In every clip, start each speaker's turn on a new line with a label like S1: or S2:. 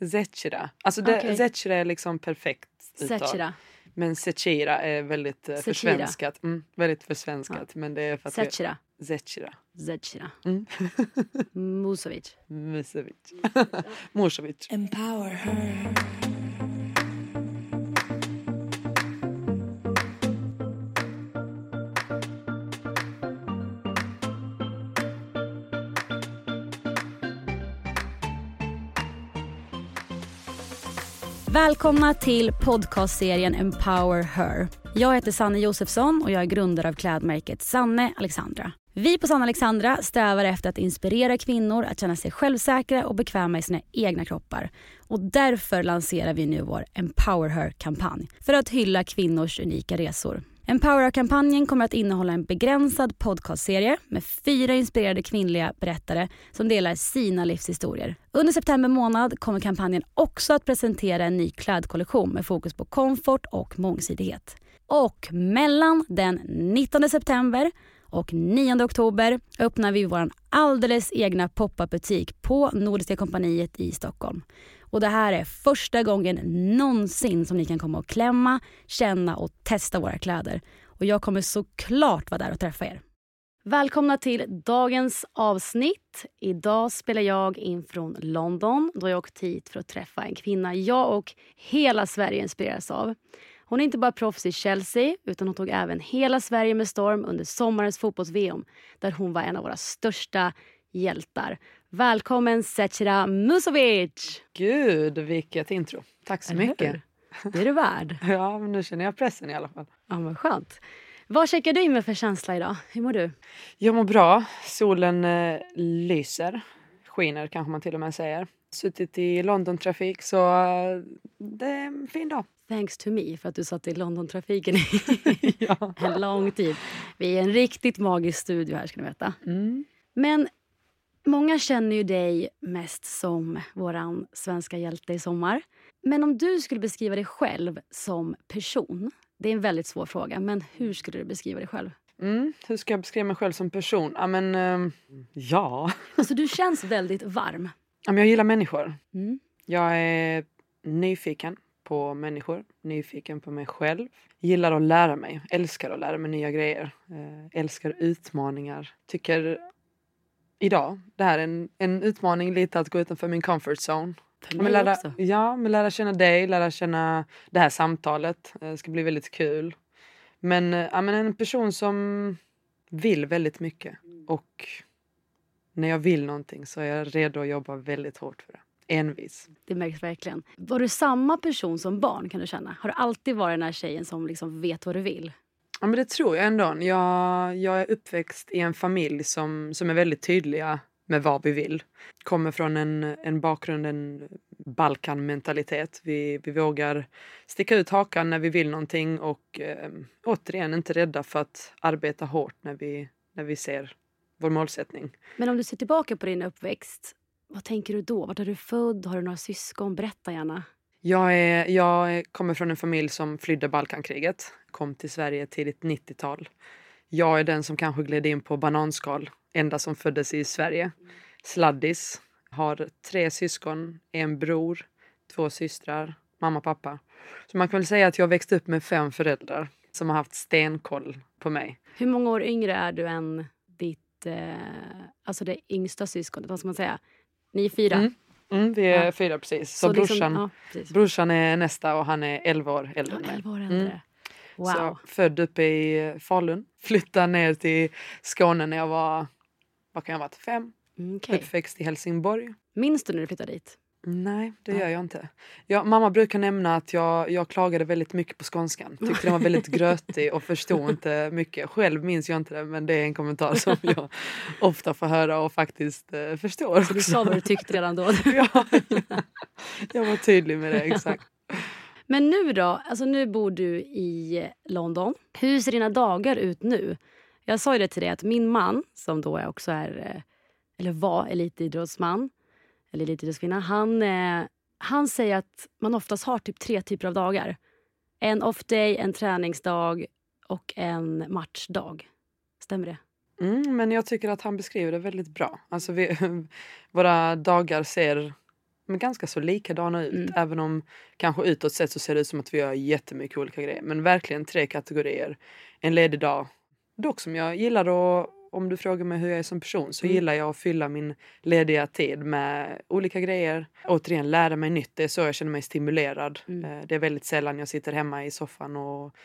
S1: Zechira. Alltså det,
S2: Okej.
S1: Zechira är liksom perfekt uttal.
S2: Zechira.
S1: Men Zechira är väldigt eh,
S2: Zechira.
S1: försvenskat. Mm, väldigt försvenskat. Men det är för att
S2: Zechira.
S1: det Zechira.
S2: Zechira.
S1: Mm.
S2: Musovic.
S1: Musovic. Morsovic.
S3: Empower her.
S2: Välkomna till podcastserien Empower Her. Jag heter Sanne Josefsson och jag är grundare av klädmärket Sanne Alexandra. Vi på Sanne Alexandra strävar efter att inspirera kvinnor att känna sig självsäkra och bekväma i sina egna kroppar. Och därför lanserar vi nu vår Empower Her-kampanj för att hylla kvinnors unika resor. Empower Her-kampanjen kommer att innehålla en begränsad podcastserie med fyra inspirerade kvinnliga berättare som delar sina livshistorier. Under september månad kommer kampanjen också att presentera en ny klädkollektion med fokus på komfort och mångsidighet. Och mellan den 19 september och 9 oktober öppnar vi vår alldeles egna pop-up butik på Nordiska kompaniet i Stockholm. Och det här är första gången någonsin som ni kan komma och klämma, känna och testa våra kläder. Och jag kommer såklart vara där och träffa er. Välkomna till dagens avsnitt. Idag spelar jag in från London då jag åkt hit för att träffa en kvinna jag och hela Sverige inspireras av. Hon är inte bara proffs i Chelsea utan hon tog även hela Sverige med storm under sommarens fotbolls-VM där hon var en av våra största hjältar. Välkommen Zecira Musovic!
S1: Gud, vilket intro. Tack så
S2: Eller
S1: mycket.
S2: hur? Det är du värd.
S1: Ja, men nu känner jag pressen i alla fall.
S2: Ja, vad skönt. Vad checkar du in med för känsla idag? Hur mår du?
S1: Jag mår bra. Solen eh, lyser. Skiner kanske man till och med säger. Suttit i London-trafik så eh, det är en fin dag.
S2: Thanks to me för att du satt i London-trafiken i
S1: Ja.
S2: en lång tid. Vi är en riktigt magisk studio här ska ni veta.
S1: Mm.
S2: Men många känner ju dig mest som våran svenska hjälte i sommar. Men om du skulle beskriva dig själv som person. Det är en väldigt svår fråga, men hur skulle du beskriva dig själv?
S1: Mm. Hur ska jag beskriva mig själv som person? Ja, men, ehm, ja.
S2: Alltså du känns väldigt varm.
S1: ja men jag gillar människor.
S2: Mm.
S1: Jag är nyfiken på människor, nyfiken på mig själv. Gillar att lära mig, älskar att lära mig nya grejer. Eh, Älskar utmaningar. Tycker idag, det här är en, en utmaning lite att gå utanför min comfort zone.
S2: För
S1: Men
S2: mig
S1: lära,
S2: också.
S1: ja, men lära känna dig, lära känna det här samtalet. Eh, Det ska bli väldigt kul. Men, eh, ja, men en person som vill väldigt mycket. Och när jag vill någonting så är jag redo att jobba väldigt hårt för det. Envis.
S2: Det märks verkligen. Var du samma person som barn kan du känna? Har du alltid varit den här tjejen som liksom vet vad du vill?
S1: Ja, men det tror jag ändå. Jag, jag är uppväxt i en familj som, som är väldigt tydliga med vad vi vill. Kommer från en, en bakgrund, en Balkanmentalitet. Vi, vi vågar sticka ut hakan när vi vill någonting och eh, återigen inte rädda för att arbeta hårt när vi, när vi ser vår målsättning.
S2: Men om du ser tillbaka på din uppväxt, vad tänker du då? Vart är du född? Har du några syskon? Berätta gärna.
S1: Jag, är, jag är- kommer från en familj som flydde Balkankriget. Kom till Sverige tidigt 90-tal. Jag är den som kanske gled in på bananskal. Enda som föddes i Sverige. Sladdis. Har tre syskon, en bror, två systrar, mamma och pappa. Så man kan väl säga att jag växte upp med fem föräldrar som har haft stenkoll på mig.
S2: Hur många år yngre är du än ditt, eh, alltså det yngsta syskonet? Vad ska man säga? Ni är fyra.
S1: Mm, Mm, vi är
S2: Ja.
S1: fyra precis. Så,
S2: Så liksom-
S1: brorsan,
S2: ja, precis.
S1: brorsan är nästa och han är 11 år äldre
S2: Ja,
S1: än mig.
S2: elva år äldre.
S1: Mm.
S2: Wow.
S1: Så född uppe i Falun. Flyttade ner till Skåne när jag var, vad kan jag ha varit, fem.
S2: Mm, okej.
S1: Uppväxt i Helsingborg.
S2: Minns du när du flyttade dit?
S1: Nej, det
S2: Nej.
S1: gör jag inte. Ja, mamma brukar nämna att jag, jag klagade väldigt mycket på skånskan. Tyckte den var väldigt grötig och förstod inte mycket. Själv minns jag inte det, men det är en kommentar som jag ofta får höra och faktiskt eh, förstår.
S2: Så du
S1: också.
S2: sa vad du tyckte redan då.
S1: ja, jag var tydlig med det, exakt.
S2: Men nu då? Alltså nu bor du i London. Hur ser dina dagar ut nu? Jag sa ju det till dig att min man, som då är också är, eh, eller var elitidrottsman, eller elitidrottskvinna, han, eh, han säger att man oftast har typ tre typer av dagar. En off-day, en träningsdag och en matchdag. Stämmer det?
S1: Mm, men jag tycker att han beskriver det väldigt bra. Alltså vi, våra dagar ser men ganska så likadana ut. Även om kanske utåt sett så ser det ut som att vi gör jättemycket olika grejer. Men verkligen tre kategorier. En ledig dag. Dock som jag gillar att, om du frågar mig hur jag är som person, så gillar jag att fylla min lediga tid med olika grejer. Återigen, lära mig nytt. Det är så jag känner mig stimulerad. Eh, Det är väldigt sällan jag sitter hemma i soffan och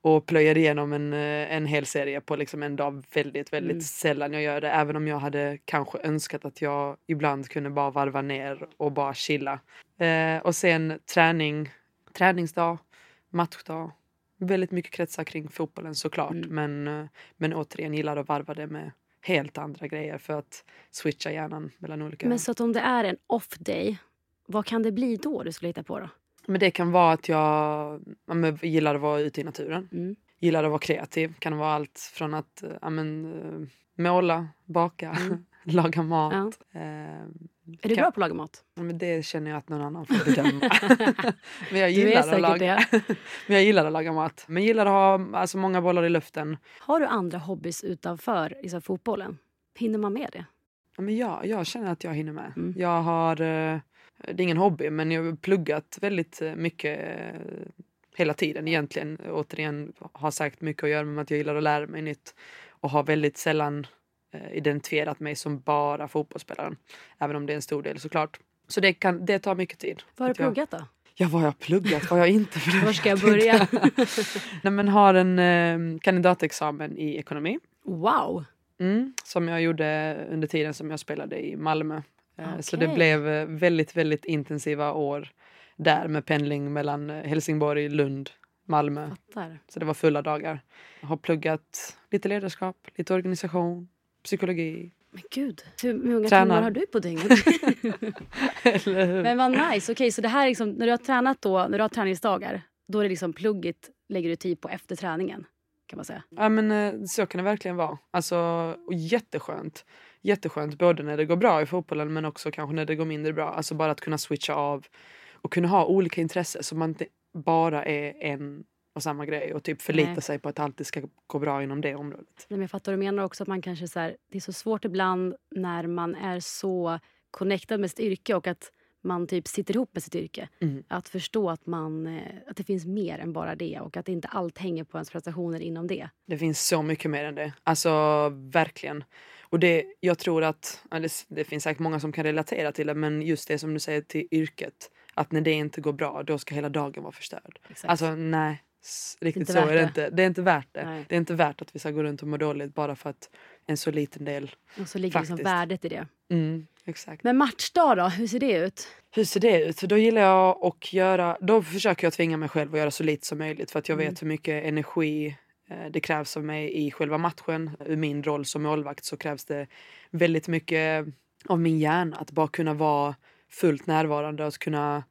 S1: och plöjer igenom en, eh, en hel serie på liksom en dag. Väldigt, väldigt
S2: Mm.
S1: sällan jag gör det. Även om jag hade kanske önskat att jag ibland kunde bara varva ner och bara chilla. Eh, och sen träning, träningsdag, matchdag. Väldigt mycket kretsar kring fotbollen såklart.
S2: Mm.
S1: Men, eh, men återigen gillar att varva det med helt andra grejer för att switcha hjärnan mellan olika.
S2: Men så att om det är en off day, vad kan det bli då du skulle hitta på då?
S1: Men det kan vara att jag ja, men, gillar att vara ute i naturen.
S2: Mm.
S1: Gillar att vara kreativ. Kan vara allt från att eh, ja, men, eh, måla, baka, laga mat.
S2: Ja.
S1: Eh,
S2: Mm. Är du
S1: Kan-
S2: bra på att laga mat?
S1: ja, men det känner jag att någon annan får bedöma. men, jag
S2: Du är
S1: gillar att
S2: säkert
S1: laga,
S2: det.
S1: men jag gillar att laga mat. Men gillar att ha alltså, många bollar i luften.
S2: Har du andra hobbys utanför liksom, fotbollen? Hinner man med det?
S1: Ja, men jag, jag känner att jag hinner med.
S2: Mm.
S1: Jag har, eh, det är ingen hobby, men jag har pluggat väldigt eh, mycket eh, hela tiden egentligen. Återigen har sagt mycket att göra med att jag gillar att lära mig nytt och har väldigt sällan eh, identifierat mig som bara fotbollsspelaren. Även om det är en stor del såklart. Så det, kan, det tar mycket tid.
S2: Vad har du
S1: Att jag-
S2: pluggat då?
S1: Ja, vad har jag pluggat? Vad har jag inte pluggat?
S2: Var ska jag börja?
S1: Nej, men har en eh, kandidatexamen i ekonomi.
S2: Wow!
S1: Mm, som jag gjorde under tiden som jag spelade i Malmö. Eh, Så det
S2: Okej.
S1: blev eh, väldigt, väldigt intensiva år där med pendling mellan eh, Helsingborg, Lund, Malmö.
S2: Fattar.
S1: Så det var fulla dagar. Jag har pluggat lite ledarskap, lite organisation, psykologi.
S2: Men gud, hur många
S1: Tränar.
S2: timmar har du på dygnet?
S1: Eller hur?
S2: Men vad nice. Okej, så det här är liksom, när du har tränat då, när du har träningsdagar, då är det liksom plugget lägger du tid på efter träningen. Kan man säga.
S1: Ja, men, eh, så kan det verkligen vara. Alltså, och jätteskönt. Jätteskönt både när det går bra i fotbollen men också kanske när det går mindre bra. Alltså bara att kunna switcha av och kunna ha olika intressen så man inte bara är en och samma grej och typ förlita
S2: Nej.
S1: sig på att det alltid ska gå bra inom det området.
S2: Nej, men jag fattar vad du menar också att man kanske så här, det är så svårt ibland när man är så connectad med sitt yrke och att man typ sitter ihop med sitt yrke.
S1: Mm.
S2: Att förstå att, man, eh, att det finns mer än bara det och att inte allt hänger på ens prestationer inom det.
S1: Det finns så mycket mer än det. Alltså verkligen. Och det, jag tror att, ja, det, det finns säkert många som kan relatera till det men just det som du säger till yrket. Att när det inte går bra då ska hela dagen vara förstörd.
S2: Exakt.
S1: Alltså nej, s- riktigt
S2: Inte
S1: så
S2: värt
S1: är det
S2: det.
S1: inte. Det är inte värt det.
S2: Nej.
S1: Det är inte värt att vi ska gå runt och må dåligt bara för att en så liten del.
S2: och så ligger liksom
S1: faktiskt.
S2: värdet i det.
S1: Mm, exakt.
S2: Men matchdag då, hur ser det ut?
S1: Hur ser det ut? Då gillar jag att göra, då försöker jag tvinga mig själv att göra så lite som möjligt för att jag
S2: Mm.
S1: vet hur mycket energi eh, det krävs av mig i själva matchen. Ur min roll som målvakt så krävs det väldigt mycket av min hjärna att bara kunna vara fullt närvarande och att kunna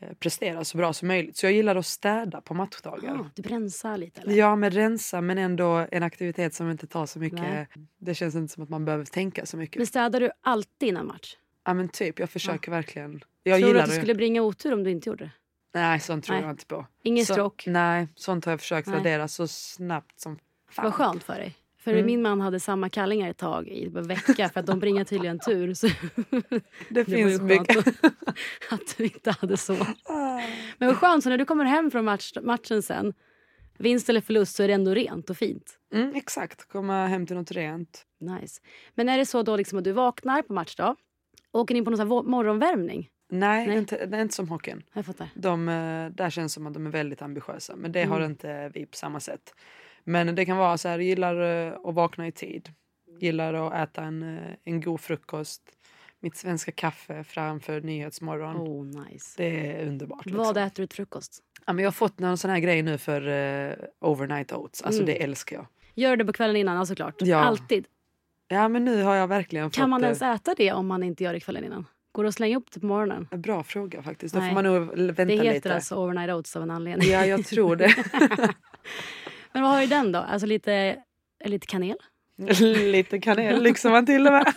S1: eh, prestera så bra som möjligt. Så jag gillar att städa på matchdagar.
S2: Ah, du rensar lite eller?
S1: Ja, men rensa men ändå en aktivitet som inte tar så mycket.
S2: Nej.
S1: Det känns inte som att man behöver tänka så mycket.
S2: Men städar du alltid innan match?
S1: Ja, men typ, jag försöker verkligen. Jag
S2: tror du
S1: gillar
S2: att du
S1: det.
S2: skulle bringa otur om du inte gjorde det?
S1: Nej, sånt tror
S2: Nej.
S1: jag inte på.
S2: Ingen
S1: Så- Mm,
S2: stroke?
S1: Nej, sånt har jag försökt
S2: Nej.
S1: radera så snabbt som fan.
S2: Vad skönt för dig. För
S1: Mm.
S2: min man hade samma kallingar ett tag i en vecka för att de bringar tydligen tur. Så
S1: Det
S2: det var ju
S1: finns
S2: skönt
S1: mycket.
S2: att, att du inte hade så. Men vad skönt, så när du kommer hem från match, matchen sen, vinst eller förlust så är det ändå rent och fint.
S1: Mm, exakt, komma hem till något rent.
S2: Nice. Men är det så då liksom att du vaknar på matchdag, åker in på någon sån här vå- morgonvärmning?
S1: Nej,
S2: Nej.
S1: Inte, det är inte som hockeyn.
S2: Jag fattar.
S1: De, eh, där känns som att de är väldigt ambitiösa. Men det
S2: Mm.
S1: har inte vi på samma sätt. Men det kan vara så här, jag gillar eh, att vakna i tid. Gillar att äta en, eh, en god frukost. Mitt svenska kaffe framför Nyhetsmorgon.
S2: Oh, nice.
S1: Det är underbart.
S2: Vad
S1: Liksom.
S2: äter du till frukost?
S1: Ja, men jag har fått någon sån här grej nu för eh, overnight oats. Alltså
S2: Mm.
S1: det älskar jag.
S2: Gör du det på kvällen innan, ja, såklart.
S1: Ja.
S2: Alltid.
S1: Ja men nu har jag verkligen fått
S2: Kan man
S1: eh,
S2: ens äta det om man inte gör det kvällen innan? Går det att slänga upp det på morgonen?
S1: en bra fråga faktiskt. Då
S2: Nej.
S1: får man nog l- vänta
S2: Det heter
S1: lite.
S2: alltså overnight oats av en anledning.
S1: Ja jag tror det.
S2: Men vad har du i den då? Alltså lite, lite kanel?
S1: lite kanel lyxar man till och med.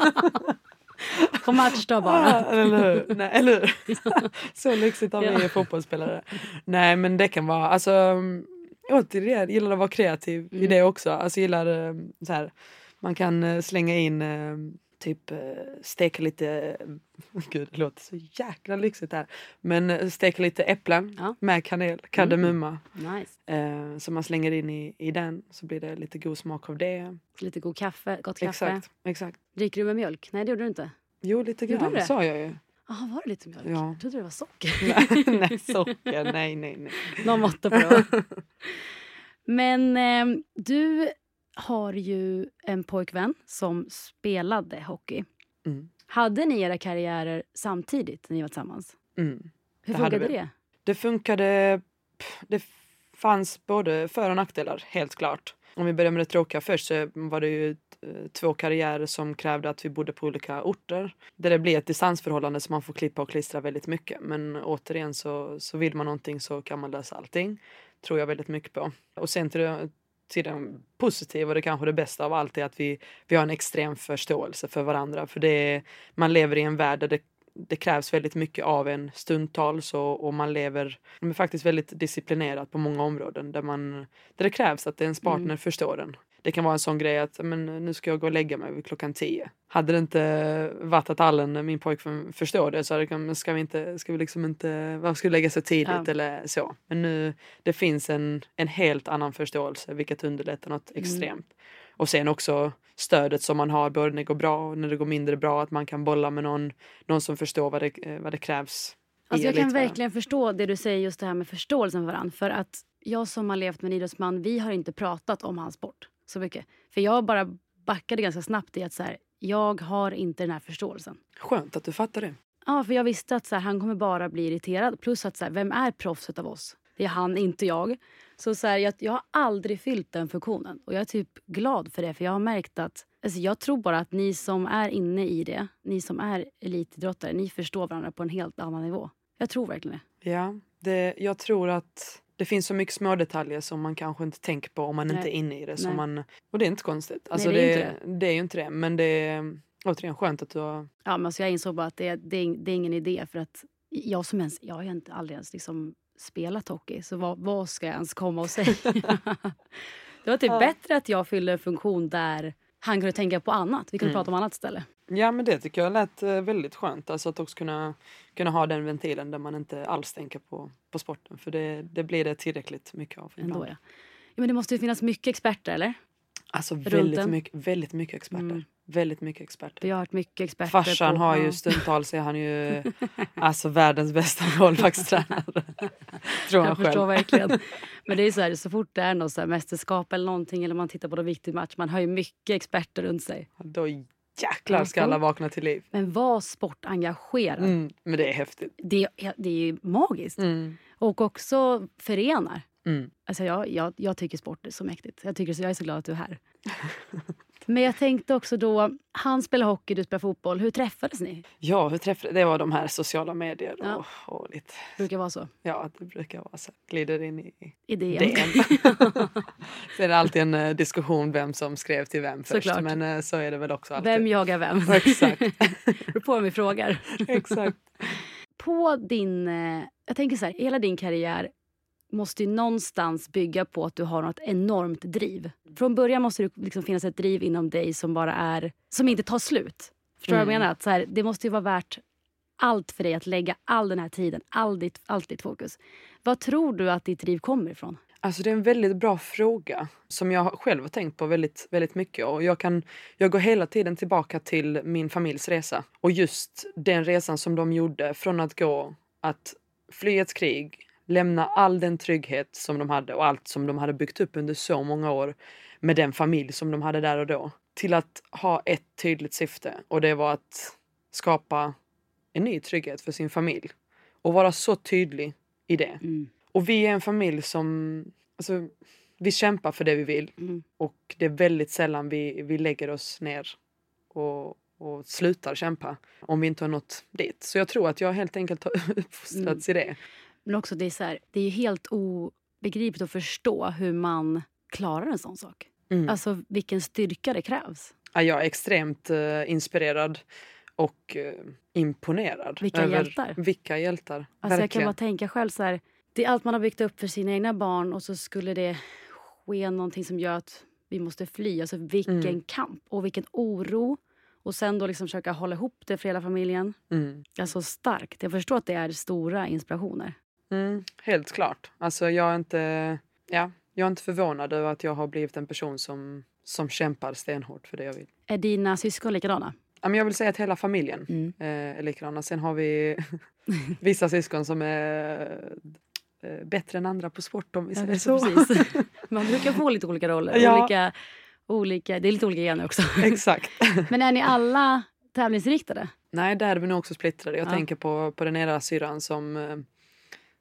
S2: På matchdag bara.
S1: Ja, eller hur? "Ah, Nej, eller hur? Så lyxigt av mig fotbollsspelare. Nej men det kan vara, alltså mm, återigen gillar att vara
S2: Mm.
S1: kreativ i det också. Alltså gillar eh, så här, man kan eh, slänga in eh, typ eh, steka lite... eh, Gud, det låter så jäkla lyxigt här. Men eh, steka lite äpplen
S2: Ja. Mm.
S1: med kanel, kardemumma.
S2: Nice.
S1: Eh, som man slänger in i, i den så blir det lite god smak av det.
S2: Lite god kaffe, gott kaffe.
S1: Exakt, exakt.
S2: Dricker du med mjölk? Nej, det gjorde du inte.
S1: Jo, lite
S2: Gjorde du
S1: grann
S2: det?
S1: sa jag ju.
S2: Jaha, Ah, var det lite mjölk?
S1: Ja.
S2: Jag trodde det var socker.
S1: nej, socker. Nej, nej, nej.
S2: Någon måtta på det. va? Men eh, du har ju en pojkvän som spelade hockey.
S1: Mm.
S2: Hade ni era karriärer samtidigt när ni var tillsammans?
S1: Mm.
S2: Hur
S1: Det hade
S2: funkade
S1: vi.
S2: det?
S1: Det funkade... pff, Det fanns både för och nackdelar, helt klart. Om vi börjar med det tråkiga först så var det ju eh, två karriärer som krävde att vi bodde på olika orter. Där det blir ett distansförhållande som man får klippa och klistra väldigt mycket. Men återigen så, så vill man någonting så kan man lösa allting. Tror jag väldigt mycket på. Och sen till det, till det positiva och det kanske det bästa av allt är att vi, vi har en extrem förståelse för varandra. För det är, man lever i en värld där det det krävs väldigt mycket av en stundtals och, och man lever men faktiskt väldigt disciplinerat på många områden där, man, där det krävs att ens partner
S2: Mm.
S1: förstår den. Det kan vara en sån grej att men, nu ska jag gå och lägga mig vid klockan tio. Hade det inte varit att Allen, min pojkvän, förstår det så hade det kunnat, men ska vi inte, ska vi liksom inte, varför ska vi lägga så tidigt
S2: Ja.
S1: eller så. Men nu, det finns en, en helt annan förståelse vilket underlättar något
S2: Mm.
S1: extremt. Och sen också stödet som man har både när det går bra och när det går mindre bra. Att man kan bolla med någon, någon som förstår vad det, eh, vad det krävs. i
S2: Alltså jag kan
S1: elitvärlden.
S2: verkligen förstå det du säger just det här med förståelsen för varandra. För att jag som har levt med en idrottsman, vi har inte pratat om hans sport så mycket. För jag bara backade ganska snabbt i att så här, jag har inte den här förståelsen.
S1: Skönt att du fattar det.
S2: Ja, för jag visste att så här, han kommer bara bli irriterad. Plus att så här, vem är proffset av oss? Det är han, inte jag. Så, så här, jag, jag har aldrig fyllt den funktionen. Och jag är typ glad för det. För jag har märkt att, alltså, jag tror bara att ni som är inne i det, ni som är elitidrottare, ni förstår varandra på en helt annan nivå. Jag tror verkligen det.
S1: Ja, det, jag tror att det finns så mycket små detaljer som man kanske inte tänker på om man
S2: Nej.
S1: inte är inne i det. Som
S2: Nej.
S1: man, och det är inte konstigt. Alltså
S2: det är ju
S1: det,
S2: inte
S1: det är ju inte det. Men det är återigen skönt att du har...
S2: Ja, men alltså jag insåg bara att det, det, är, det är ingen idé. För att jag som ens, jag har ju inte, aldrig ens liksom spelat hockey, så vad, vad ska jag ens komma och säga? det var typ
S1: Ja.
S2: bättre att jag fyllde en funktion där han kunde tänka på annat. Vi kunde
S1: Mm.
S2: prata om annat ställe.
S1: Ja men det tycker jag lät eh, väldigt skönt. Alltså att också kunna, kunna ha den ventilen där man inte alls tänker på, på sporten. För det, det blir det tillräckligt mycket av. ibland.
S2: Ändå, ja. Ja, men det måste ju finnas mycket experter, eller?
S1: Alltså
S2: den.
S1: väldigt mycket, väldigt mycket experter.
S2: Mm.
S1: Väldigt mycket experter.
S2: För jag har hört mycket experter.
S1: Farsan
S2: på,
S1: har
S2: ja.
S1: ju stundtals är han ju alltså världens bästa målvaktstränare. Tror han
S2: Jag förstår
S1: själv.
S2: verkligen. Men det är så här, så fort det är något så här mästerskap eller någonting eller man tittar på någon viktig match, man har ju mycket experter runt sig.
S1: Då jäklar ska alla vakna till liv.
S2: Men var sportengagerad.
S1: Mm, men det är häftigt.
S2: Det, är- det är ju magiskt.
S1: Mm.
S2: Och också förenar.
S1: Mm.
S2: Alltså jag, jag, jag tycker sport är så mäktigt. Jag, tycker, så jag är så glad att du är här. Men jag tänkte också då, han spelar hockey, du spelar fotboll. Hur träffades ni?
S1: Ja, hur träffade, det var de här sociala medier och,
S2: Ja.
S1: och lite.
S2: Brukar vara så.
S1: Ja, det brukar vara så. Glider in i
S2: I DM.
S1: DM. Sen är det alltid en eh, diskussion vem som skrev till vem först.
S2: Såklart.
S1: Men eh, så är det väl också alltid.
S2: Vem jagar vem?
S1: Exakt.
S2: Beror på vem vi frågar.
S1: Exakt.
S2: På din... eh, Jag tänker så här, hela din karriär måste ju någonstans bygga på att du har något enormt driv. Från början måste det liksom finnas ett driv inom dig som bara är... Som inte tar slut. Förstår du vad jag
S1: Mm.
S2: menar? Att så här, det måste ju vara värt allt för dig att lägga all den här tiden, all ditt, allt ditt fokus. Vad tror du att ditt driv kommer ifrån?
S1: Alltså det är en väldigt bra fråga som jag själv har tänkt på väldigt, väldigt mycket. Och jag, kan, jag går hela tiden tillbaka till min familjs resa. Och just den resan som de gjorde från att gå, att fly ett krig, lämna all den trygghet som de hade och allt som de hade byggt upp under så många år med den familj som de hade där och då. Till att ha ett tydligt syfte och det var att skapa en ny trygghet för sin familj. Och vara så tydlig i det.
S2: Mm.
S1: Och vi är en familj som... Alltså, vi kämpar för det vi vill.
S2: Mm.
S1: Och det är väldigt sällan vi, vi lägger oss ner och, och slutar kämpa om vi inte har nått dit. Så jag tror att jag helt enkelt har
S2: Mm.
S1: uppfostrats i det.
S2: Men också det är, så här, det är ju helt obegripligt att förstå hur man klarar en sån sak.
S1: Mm.
S2: Alltså vilken styrka det krävs.
S1: Ja, Jag är extremt eh, inspirerad och eh, imponerad.
S2: Vilka hjältar.
S1: Vilka hjältar.
S2: Alltså jag kan
S1: verkligen.
S2: bara tänka själv så här, det är allt man har byggt upp för sina egna barn och så skulle det ske någonting som gör att vi måste fly. Alltså vilken
S1: Mm.
S2: kamp och vilken oro Och sen då liksom försöka hålla ihop det för hela familjen.
S1: Mm.
S2: Alltså starkt. Jag förstår att det är stora inspirationer.
S1: Mm, helt klart. Alltså jag är inte... Ja, jag är inte förvånad över att jag har blivit en person som, som kämpar stenhårt för det jag vill.
S2: Är dina syskon likadana?
S1: Ja, men jag vill säga att hela familjen
S2: Mm.
S1: eh, är likadana. Sen har vi vissa syskon som är eh, bättre än andra på sport alltså, om vi säger så.
S2: Precis. Man brukar få lite olika roller.
S1: Ja.
S2: Olika, olika, det är lite olika gener också.
S1: Exakt.
S2: Men är ni alla tävlingsinriktade?
S1: Nej, där är vi nog också splittrade. Jag
S2: Ja.
S1: tänker på, på den ena syrran som, eh,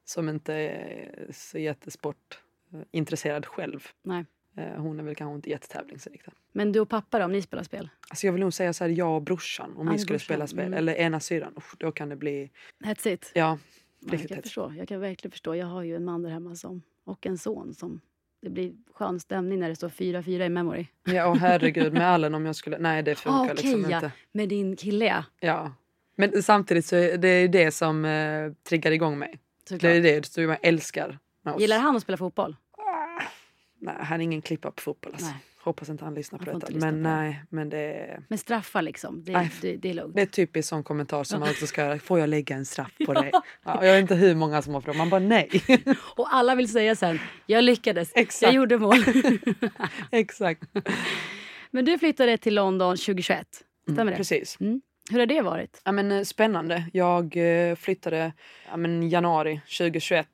S1: som inte är så jättesportintresserad själv.
S2: Nej.
S1: Eh, Hon är väl kanske inte jättetävlingsinriktad.
S2: Men du och pappa då, om ni spelar spel?
S1: Alltså jag vill nog säga så här, jag och brorsan om
S2: Ja,
S1: vi
S2: det är
S1: skulle
S2: brorsan.
S1: spela spel.
S2: Mm.
S1: Eller ena syrran, usch, då kan det bli...
S2: That's it.
S1: Ja,
S2: Ja, jag
S1: Riktigt
S2: kan
S1: hett.
S2: förstå. Jag kan verkligen förstå. Jag har ju en man där hemma som, och en son som... Det blir skön stämning när det står 4-4 i memory.
S1: ja och herregud med Allen om jag skulle... Nej, det funkar
S2: Ah, okej,
S1: liksom
S2: ja.
S1: inte.
S2: Med din kille, ja.
S1: Ja. Men samtidigt så är det är ju det som eh, triggar igång mig. Det är
S2: Såklart.
S1: det som jag älskar med oss.
S2: Gillar han att spela fotboll?
S1: Nej, han är ingen klippa på fotboll. Alltså.
S2: Nej.
S1: Hoppas inte han lyssnar
S2: Han
S1: på
S2: får
S1: detta.
S2: inte lyssna
S1: Men
S2: på det.
S1: nej, men det är,
S2: Men straffar liksom. Det,
S1: Nej.
S2: det, det är lugnt.
S1: det är typiskt sån kommentar som man också ska göra. Får jag lägga en straff på dig? Ja, och jag vet inte hur många som har frågat. Man bara nej.
S2: Och alla vill säga sen, jag lyckades. Jag
S1: Exakt.
S2: gjorde mål.
S1: Exakt.
S2: Men du flyttade till London 2021. Stämmer det?
S1: Mm, Precis.
S2: Hur har det varit?
S1: Ja, men, eh, spännande. Jag eh, flyttade ja, men, januari 2021.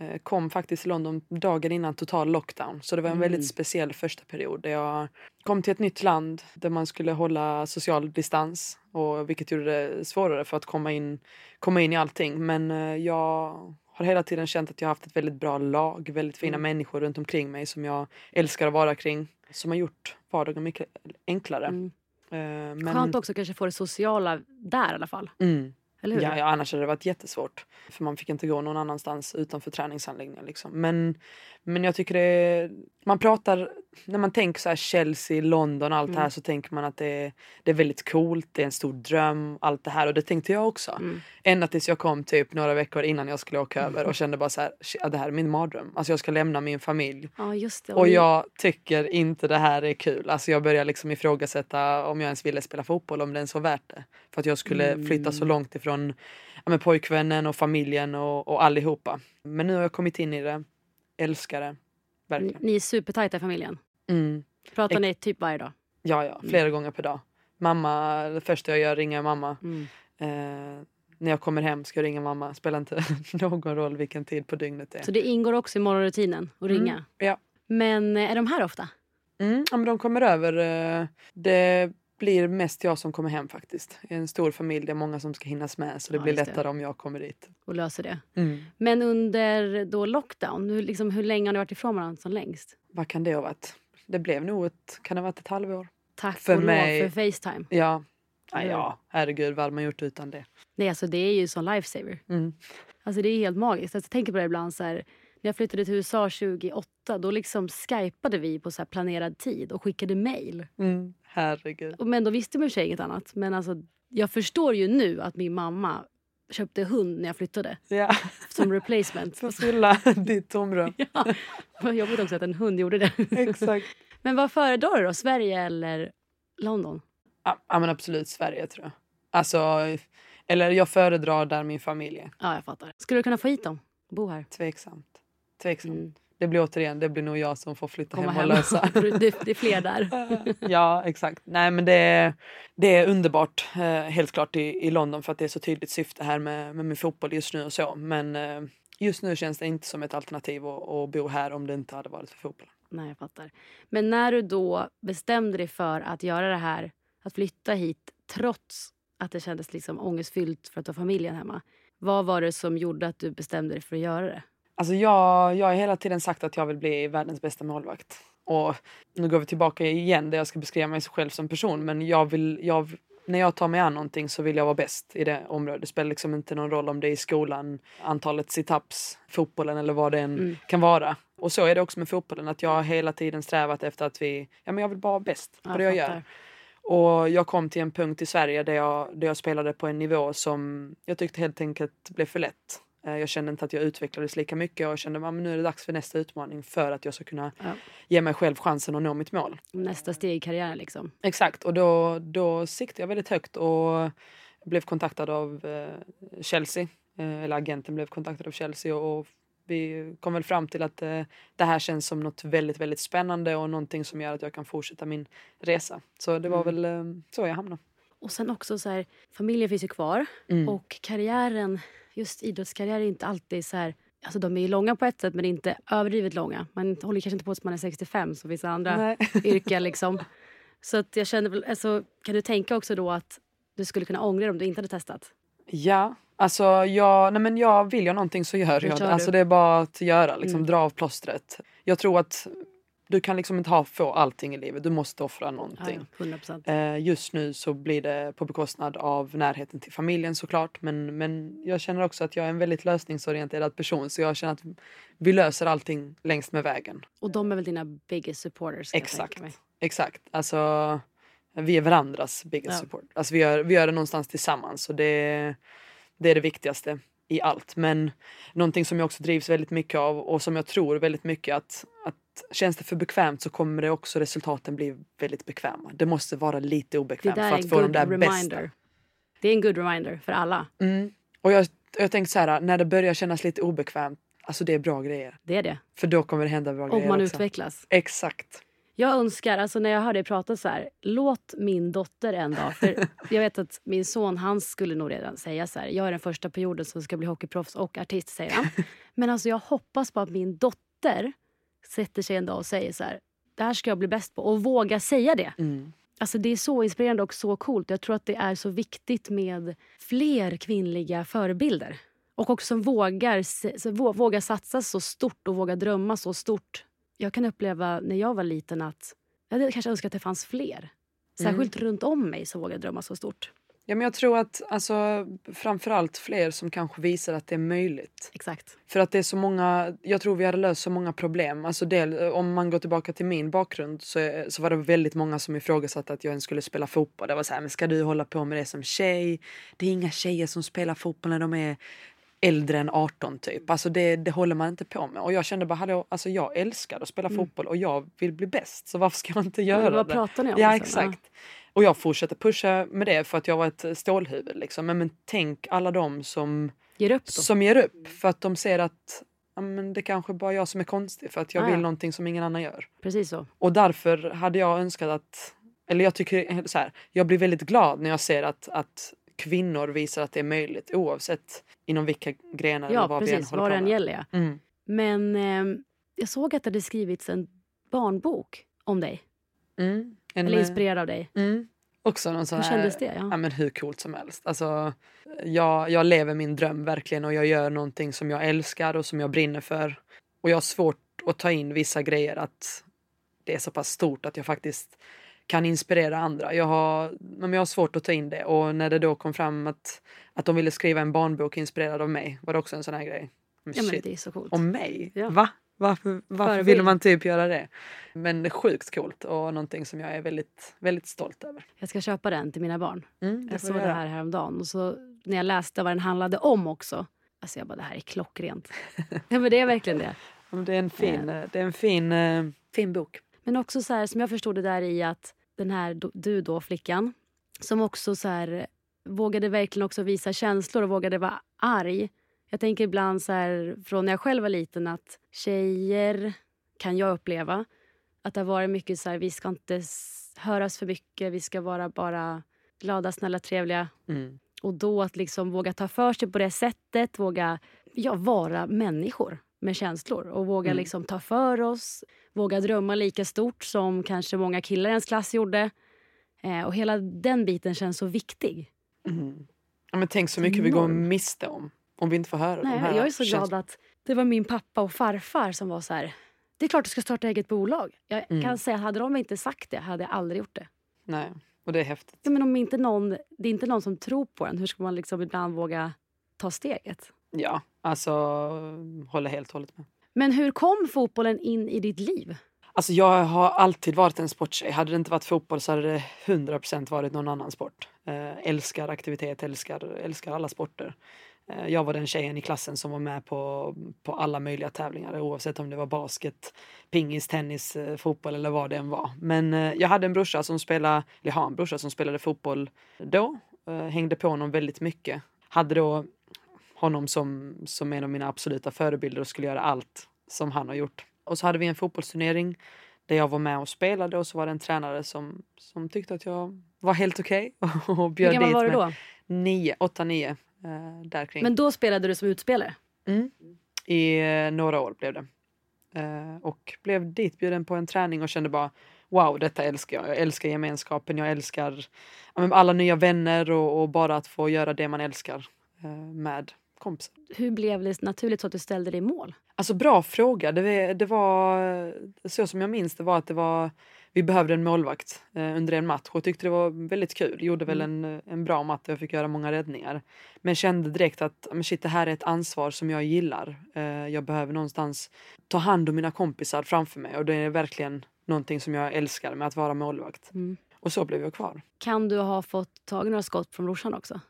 S1: Eh, kom faktiskt till London dagen innan total lockdown. Så det var en
S2: Mm.
S1: väldigt speciell första period. Där jag kom till ett nytt land där man skulle hålla social distans. Och, vilket gjorde det svårare för att komma in, komma in i allting. Men eh, jag har hela tiden känt att jag har haft ett väldigt bra lag. Väldigt fina
S2: Mm.
S1: människor runt omkring mig som jag älskar att vara kring. Som har gjort vardagen mycket enklare.
S2: Mm.
S1: Eh, men,
S2: Skönt också kanske få det sociala där i alla fall.
S1: Mm.
S2: Eller hur?
S1: Ja, ja, annars hade det varit jättesvårt. För man fick inte gå någon annanstans utanför träningsanläggningen. Liksom. Men, men jag tycker det är, Man pratar... När man tänker så här Chelsea, London allt det här
S2: Mm.
S1: så tänker man att det är, det är väldigt coolt, det är en stor dröm, allt det här. Och det tänkte jag också.
S2: Mm.
S1: Ända tills jag kom typ några veckor innan jag skulle åka över och kände bara så här, "Shit, ja, det här är min mardröm. Alltså jag ska lämna min familj.
S2: Ja, just det.
S1: Och jag tycker inte det här är kul. Alltså jag börjar liksom ifrågasätta om jag ens ville spela fotboll, om det ens var värt det. För att jag skulle
S2: Mm.
S1: flytta så långt ifrån ja, men pojkvännen och familjen och, och allihopa. Men nu har jag kommit in i det. Älskar det.
S2: ni,
S1: Verkligen.
S2: ni är supertajta i familjen.
S1: Mm.
S2: Pratar
S1: Ex-
S2: ni typ varje dag?
S1: Ja, ja. Flera gånger per dag. Mamma, det första jag gör är ringa mamma.
S2: Mm.
S1: Eh, när jag kommer hem ska jag ringa mamma. Spelar inte någon roll vilken tid på dygnet det är.
S2: Så det ingår också i morgonrutinen att ringa?
S1: ja.
S2: Men eh, är de här ofta?
S1: Mm, ja, men de kommer över. eh, Det blir mest jag som kommer hem faktiskt. Det är en stor familj, det är många som ska hinnas med så det
S2: Ja,
S1: blir
S2: just det.
S1: lättare om jag kommer dit. Mm.
S2: Och löser det? Men under då lockdown, hur, liksom, hur länge har ni varit ifrån varandra som längst?
S1: Vad kan det ha varit? Det blev nog ett, kan det ha varit ett halvår?
S2: Tack
S1: För
S2: och
S1: mig-
S2: lov för Facetime.
S1: Ja. Ja,
S2: Eller?
S1: ja, herregud vad hade man gjort utan det?
S2: Nej, alltså det är ju som lifesaver.
S1: Mm.
S2: Alltså det är helt magiskt. Alltså, jag tänker på det ibland så här, när jag flyttade till USA 2008 då liksom skypade vi på så här planerad tid och skickade mejl.
S1: Mm. Herregud.
S2: Och- Men då visste man i och för sig inget annat. Men alltså, jag förstår ju nu att min mamma köpte hund när jag flyttade
S1: Ja,
S2: som replacement.
S1: för att fylla ditt tomrum.
S2: ja, vad jobbigt också att en hund gjorde det.
S1: Exakt.
S2: Men vad föredrar du då? Sverige eller London?
S1: Ja, ja men absolut Sverige tror jag. Alltså, eller jag föredrar där min familj är.
S2: Ja, jag fattar. Skulle du kunna få hit dem? Bo här?
S1: Tveksamt. Tveksamt.
S2: Mm.
S1: Det blir återigen, det blir nog jag som får flytta
S2: Komma
S1: hem och
S2: hem.
S1: lösa.
S2: det, det är fler där.
S1: ja, exakt. Nej, men det är, det är underbart eh, helt klart i, i London för att det är så tydligt syfte här med, med min fotboll just nu och så. Men eh, just nu känns det inte som ett alternativ att, att bo här om det inte hade varit för fotbollen.
S2: Nej, jag fattar. Men när du då bestämde dig för att göra det här, att flytta hit trots att det kändes liksom ångestfyllt för att ha familjen hemma. Vad var det som gjorde att du bestämde dig för att göra det?
S1: Alltså jag, jag har hela tiden sagt att jag vill bli världens bästa målvakt. Och nu går vi tillbaka igen där jag ska beskriva mig själv som person men jag vill, jag, när jag tar mig an någonting så vill jag vara bäst i det området. Det spelar liksom inte någon roll om det är i skolan, antalet situps, fotbollen eller vad det än
S2: Mm.
S1: kan vara. Och så är det också med fotbollen att jag har hela tiden strävat efter att vi, ja men jag vill bara vara bäst på
S2: Ja,
S1: det jag
S2: fattar.
S1: gör. Och jag kom till en punkt i Sverige där jag, där jag spelade på en nivå som jag tyckte helt enkelt blev för lätt. Eh, Jag kände inte att jag utvecklades lika mycket och jag kände att nu är det dags för nästa utmaning för att jag ska kunna
S2: Ja.
S1: ge mig själv chansen att nå mitt mål.
S2: Nästa steg i karriären liksom.
S1: Exakt, och då, då siktade jag väldigt högt och blev kontaktad av eh, Chelsea. Eh, eller agenten blev kontaktad av Chelsea och, och vi kom väl fram till att eh, det här känns som något väldigt, väldigt spännande och någonting som gör att jag kan fortsätta min resa. Så det var
S2: Mm.
S1: väl eh, så jag hamnade.
S2: Och sen också så här, familjen finns ju kvar
S1: Mm.
S2: och karriären, just idrottskarriär är inte alltid så här, alltså de är ju långa på ett sätt men inte överdrivet långa. Man håller kanske inte på tills man är 65 som vissa andra
S1: Nej.
S2: yrken liksom. Så att jag kände väl, alltså, kan du tänka också då att du skulle kunna ångra dig om du inte hade testat?
S1: Ja, alltså jag, nej men jag vill jag någonting så gör
S2: Då
S1: jag
S2: kör
S1: det.
S2: du.
S1: Alltså det är bara att göra, liksom,
S2: Mm.
S1: dra av plåstret. Jag tror att du kan liksom inte ha, få allting i livet, du måste offra
S2: Ja,
S1: någonting.
S2: ja, 100 procent.
S1: Eh, Just nu så blir det på bekostnad av närheten till familjen såklart. Men, men jag känner också att jag är en väldigt lösningsorienterad person så jag känner att vi löser allting längs med vägen.
S2: Och de är väl dina biggest supporters? kan jag tänka
S1: Exakt.
S2: mig.
S1: Exakt. Alltså, vi är varandras biggest
S2: Ja.
S1: support. Alltså, vi, gör, vi gör det någonstans tillsammans och det, det är det viktigaste i allt. Men någonting som jag också drivs väldigt mycket av och som jag tror väldigt mycket att, att känns det för bekvämt så kommer det också resultaten bli väldigt bekväma. Det måste vara lite
S2: Det
S1: obekvämt
S2: där
S1: för
S2: är
S1: att
S2: en
S1: få de
S2: good
S1: där
S2: reminder.
S1: bästa.
S2: Det är en good reminder för alla.
S1: Mm. Och jag, jag tänkte så här, när det börjar kännas lite obekvämt, alltså det är bra grejer.
S2: Det är det.
S1: För då kommer det hända bra
S2: Om
S1: grejer
S2: man
S1: också.
S2: utvecklas.
S1: Exakt.
S2: Jag önskar, alltså när jag hör dig prata så här, låt min dotter en dag. För jag vet att min son, han skulle nog redan säga så här, jag är den första perioden som ska bli hockeyproffs och artist, säger han. Men alltså jag hoppas på att min dotter sätter sig en dag och säger så här, det här ska jag bli bäst på. Och våga säga det.
S1: Mm.
S2: Alltså det är så inspirerande och så coolt. Jag tror att det är så viktigt med fler kvinnliga förebilder. Och också som vågar, se- så vå- vågar satsa så stort och vågar drömma så stort. Jag kan uppleva när jag var liten att jag hade kanske önskat att det fanns fler. Särskilt
S1: Mm.
S2: runt om mig som vågar drömma så stort.
S1: Ja, men jag tror att alltså, framförallt fler som kanske visar att det är möjligt.
S2: Exakt.
S1: För att det är så många, jag tror vi hade löst så många problem. Alltså del, om man går tillbaka till min bakgrund så, är- så var det väldigt många som ifrågasatte att jag ens skulle spela fotboll. Det var så här, men ska du hålla på med det som tjej? Det är inga tjejer som spelar fotboll när de är äldre än 18 typ. Alltså det, det håller man inte på med. Och jag kände bara, hallå, alltså jag älskar att spela fotboll och jag vill bli bäst. Så varför ska jag inte göra
S2: Men Mm. vad
S1: det?
S2: pratar ni om?
S1: Ja,
S2: liksom?
S1: exakt. Och jag fortsätter pusha med det för att jag var ett stålhuvud. Liksom. Men, men tänk alla de som,
S2: Ja. Ger upp då. Mm.
S1: som ger upp för att de ser att ja, men det kanske bara är jag som är konstig för att jag
S2: Ah,
S1: vill
S2: ja.
S1: någonting som ingen annan gör.
S2: Precis så.
S1: Och därför hade jag önskat att... Eller jag tycker eh, så här, jag blir väldigt glad när jag ser att, att kvinnor visar att det är möjligt oavsett inom vilka grenar eller
S2: Ja,
S1: vad vi än
S2: precis.
S1: håller
S2: Vad det
S1: på
S2: än
S1: med.
S2: gäller. ja.
S1: Mm.
S2: Men ehm, jag såg att det hade skrivits en barnbok om dig.
S1: Mm. En,
S2: Eller inspirerad av dig.
S1: mm. Också någon sån
S2: Hur
S1: här,
S2: kändes det? Ja.
S1: Ja, men hur coolt som helst. Alltså, jag, jag lever min dröm verkligen och jag gör någonting som jag älskar och som jag brinner för. Och jag har svårt att ta in vissa grejer att det är så pass stort att jag faktiskt kan inspirera andra. Jag har, men jag har svårt att ta in det och när det då kom fram att, att de ville skriva en barnbok inspirerad av mig var det också en sån här grej. Men
S2: Ja, men
S1: shit,
S2: det är så coolt.
S1: om mig?
S2: Ja.
S1: Va? Varför, varför
S2: Förebild.
S1: ville man typ göra det? Men sjukt coolt och någonting som jag är väldigt, väldigt stolt över.
S2: Jag ska köpa den till mina barn.
S1: Mm, det
S2: Jag
S1: får
S2: såg
S1: jag
S2: den
S1: göra.
S2: här häromdagen. Och så när jag läste vad den handlade om också. Alltså jag bara, det här är klockrent. ja, men det är verkligen det.
S1: Ja, men Det är en fin, eh, det är en fin, eh, fin bok.
S2: Men också så här, som jag förstod det där i att den här do- du då, flickan, som också så här, vågade verkligen också visa känslor och vågade vara arg. Jag tänker ibland så här, från när jag själv var liten att tjejer kan jag uppleva att det har varit mycket så här, vi ska inte s- höras för mycket, vi ska vara bara glada, snälla, trevliga.
S1: Mm.
S2: Och då att liksom våga ta för sig på det sättet, våga ja, vara människor med känslor och våga
S1: Mm.
S2: liksom ta för oss, våga drömma lika stort som kanske många killar i ens klass gjorde. Eh, och hela den biten känns så viktig.
S1: Mm. Ja, men tänk så mycket vi går
S2: Enorm.
S1: miste om. Om vi inte får höra de här
S2: Nej, Eh, jag är så
S1: känslorna.
S2: glad att det var min pappa och farfar som var så här, det är klart du ska starta eget bolag. Jag
S1: Mm.
S2: kan säga att hade de inte sagt det hade jag aldrig gjort det.
S1: Nej, och det är häftigt.
S2: Ja, men om inte någon, det är inte någon som tror på en, hur ska man liksom ibland våga ta steget?
S1: Ja, alltså håller helt och hållet med.
S2: Men hur kom fotbollen in i ditt liv?
S1: Alltså jag har alltid varit en sporttjej. Hade det inte varit fotboll så hade det 100% varit någon annan sport. Eh, älskar aktivitet, älskar, älskar alla sporter. Eh, Jag var den tjejen i klassen som var med på, på alla möjliga tävlingar oavsett om det var basket, pingis, tennis, eh, fotboll eller vad det än var. Men eh, jag hade en brorsa som spelade, eller jag har en brorsa som spelade fotboll då. eh, Hängde på honom väldigt mycket. Hade då honom som, som en av mina absoluta förebilder och skulle göra allt som han har gjort. Och så hade vi en fotbollsturnering där jag var med och spelade och så var det en tränare som, som tyckte att jag var helt okej och
S2: Hur
S1: bjöd dit
S2: gammal var du
S1: mig.
S2: då?
S1: Nio, åtta, nio. Eh, där kring.
S2: Men då spelade du som utspelare?
S1: Mm. I eh, några år blev det. Eh, och blev ditbjuden på en träning och kände bara wow, detta älskar jag. Jag älskar gemenskapen, jag älskar ja, men alla nya vänner och, och bara att få göra det man älskar eh, med kompisar.
S2: Hur blev det naturligt så att du ställde dig i mål?
S1: Alltså bra fråga. Det, var- det var så som jag minns det var att det var vi behövde en målvakt eh, under en match och tyckte det var väldigt kul. Gjorde väl
S2: Mm.
S1: en, eh, en bra match och jag fick göra många räddningar. Men kände direkt att men shit, det här är ett ansvar som jag gillar. Eh, jag behöver någonstans ta hand om mina kompisar framför mig och det är verkligen någonting som jag älskar med att vara målvakt.
S2: Mm.
S1: Och så blev jag kvar.
S2: Kan du ha fått tag i några skott från brorsan också?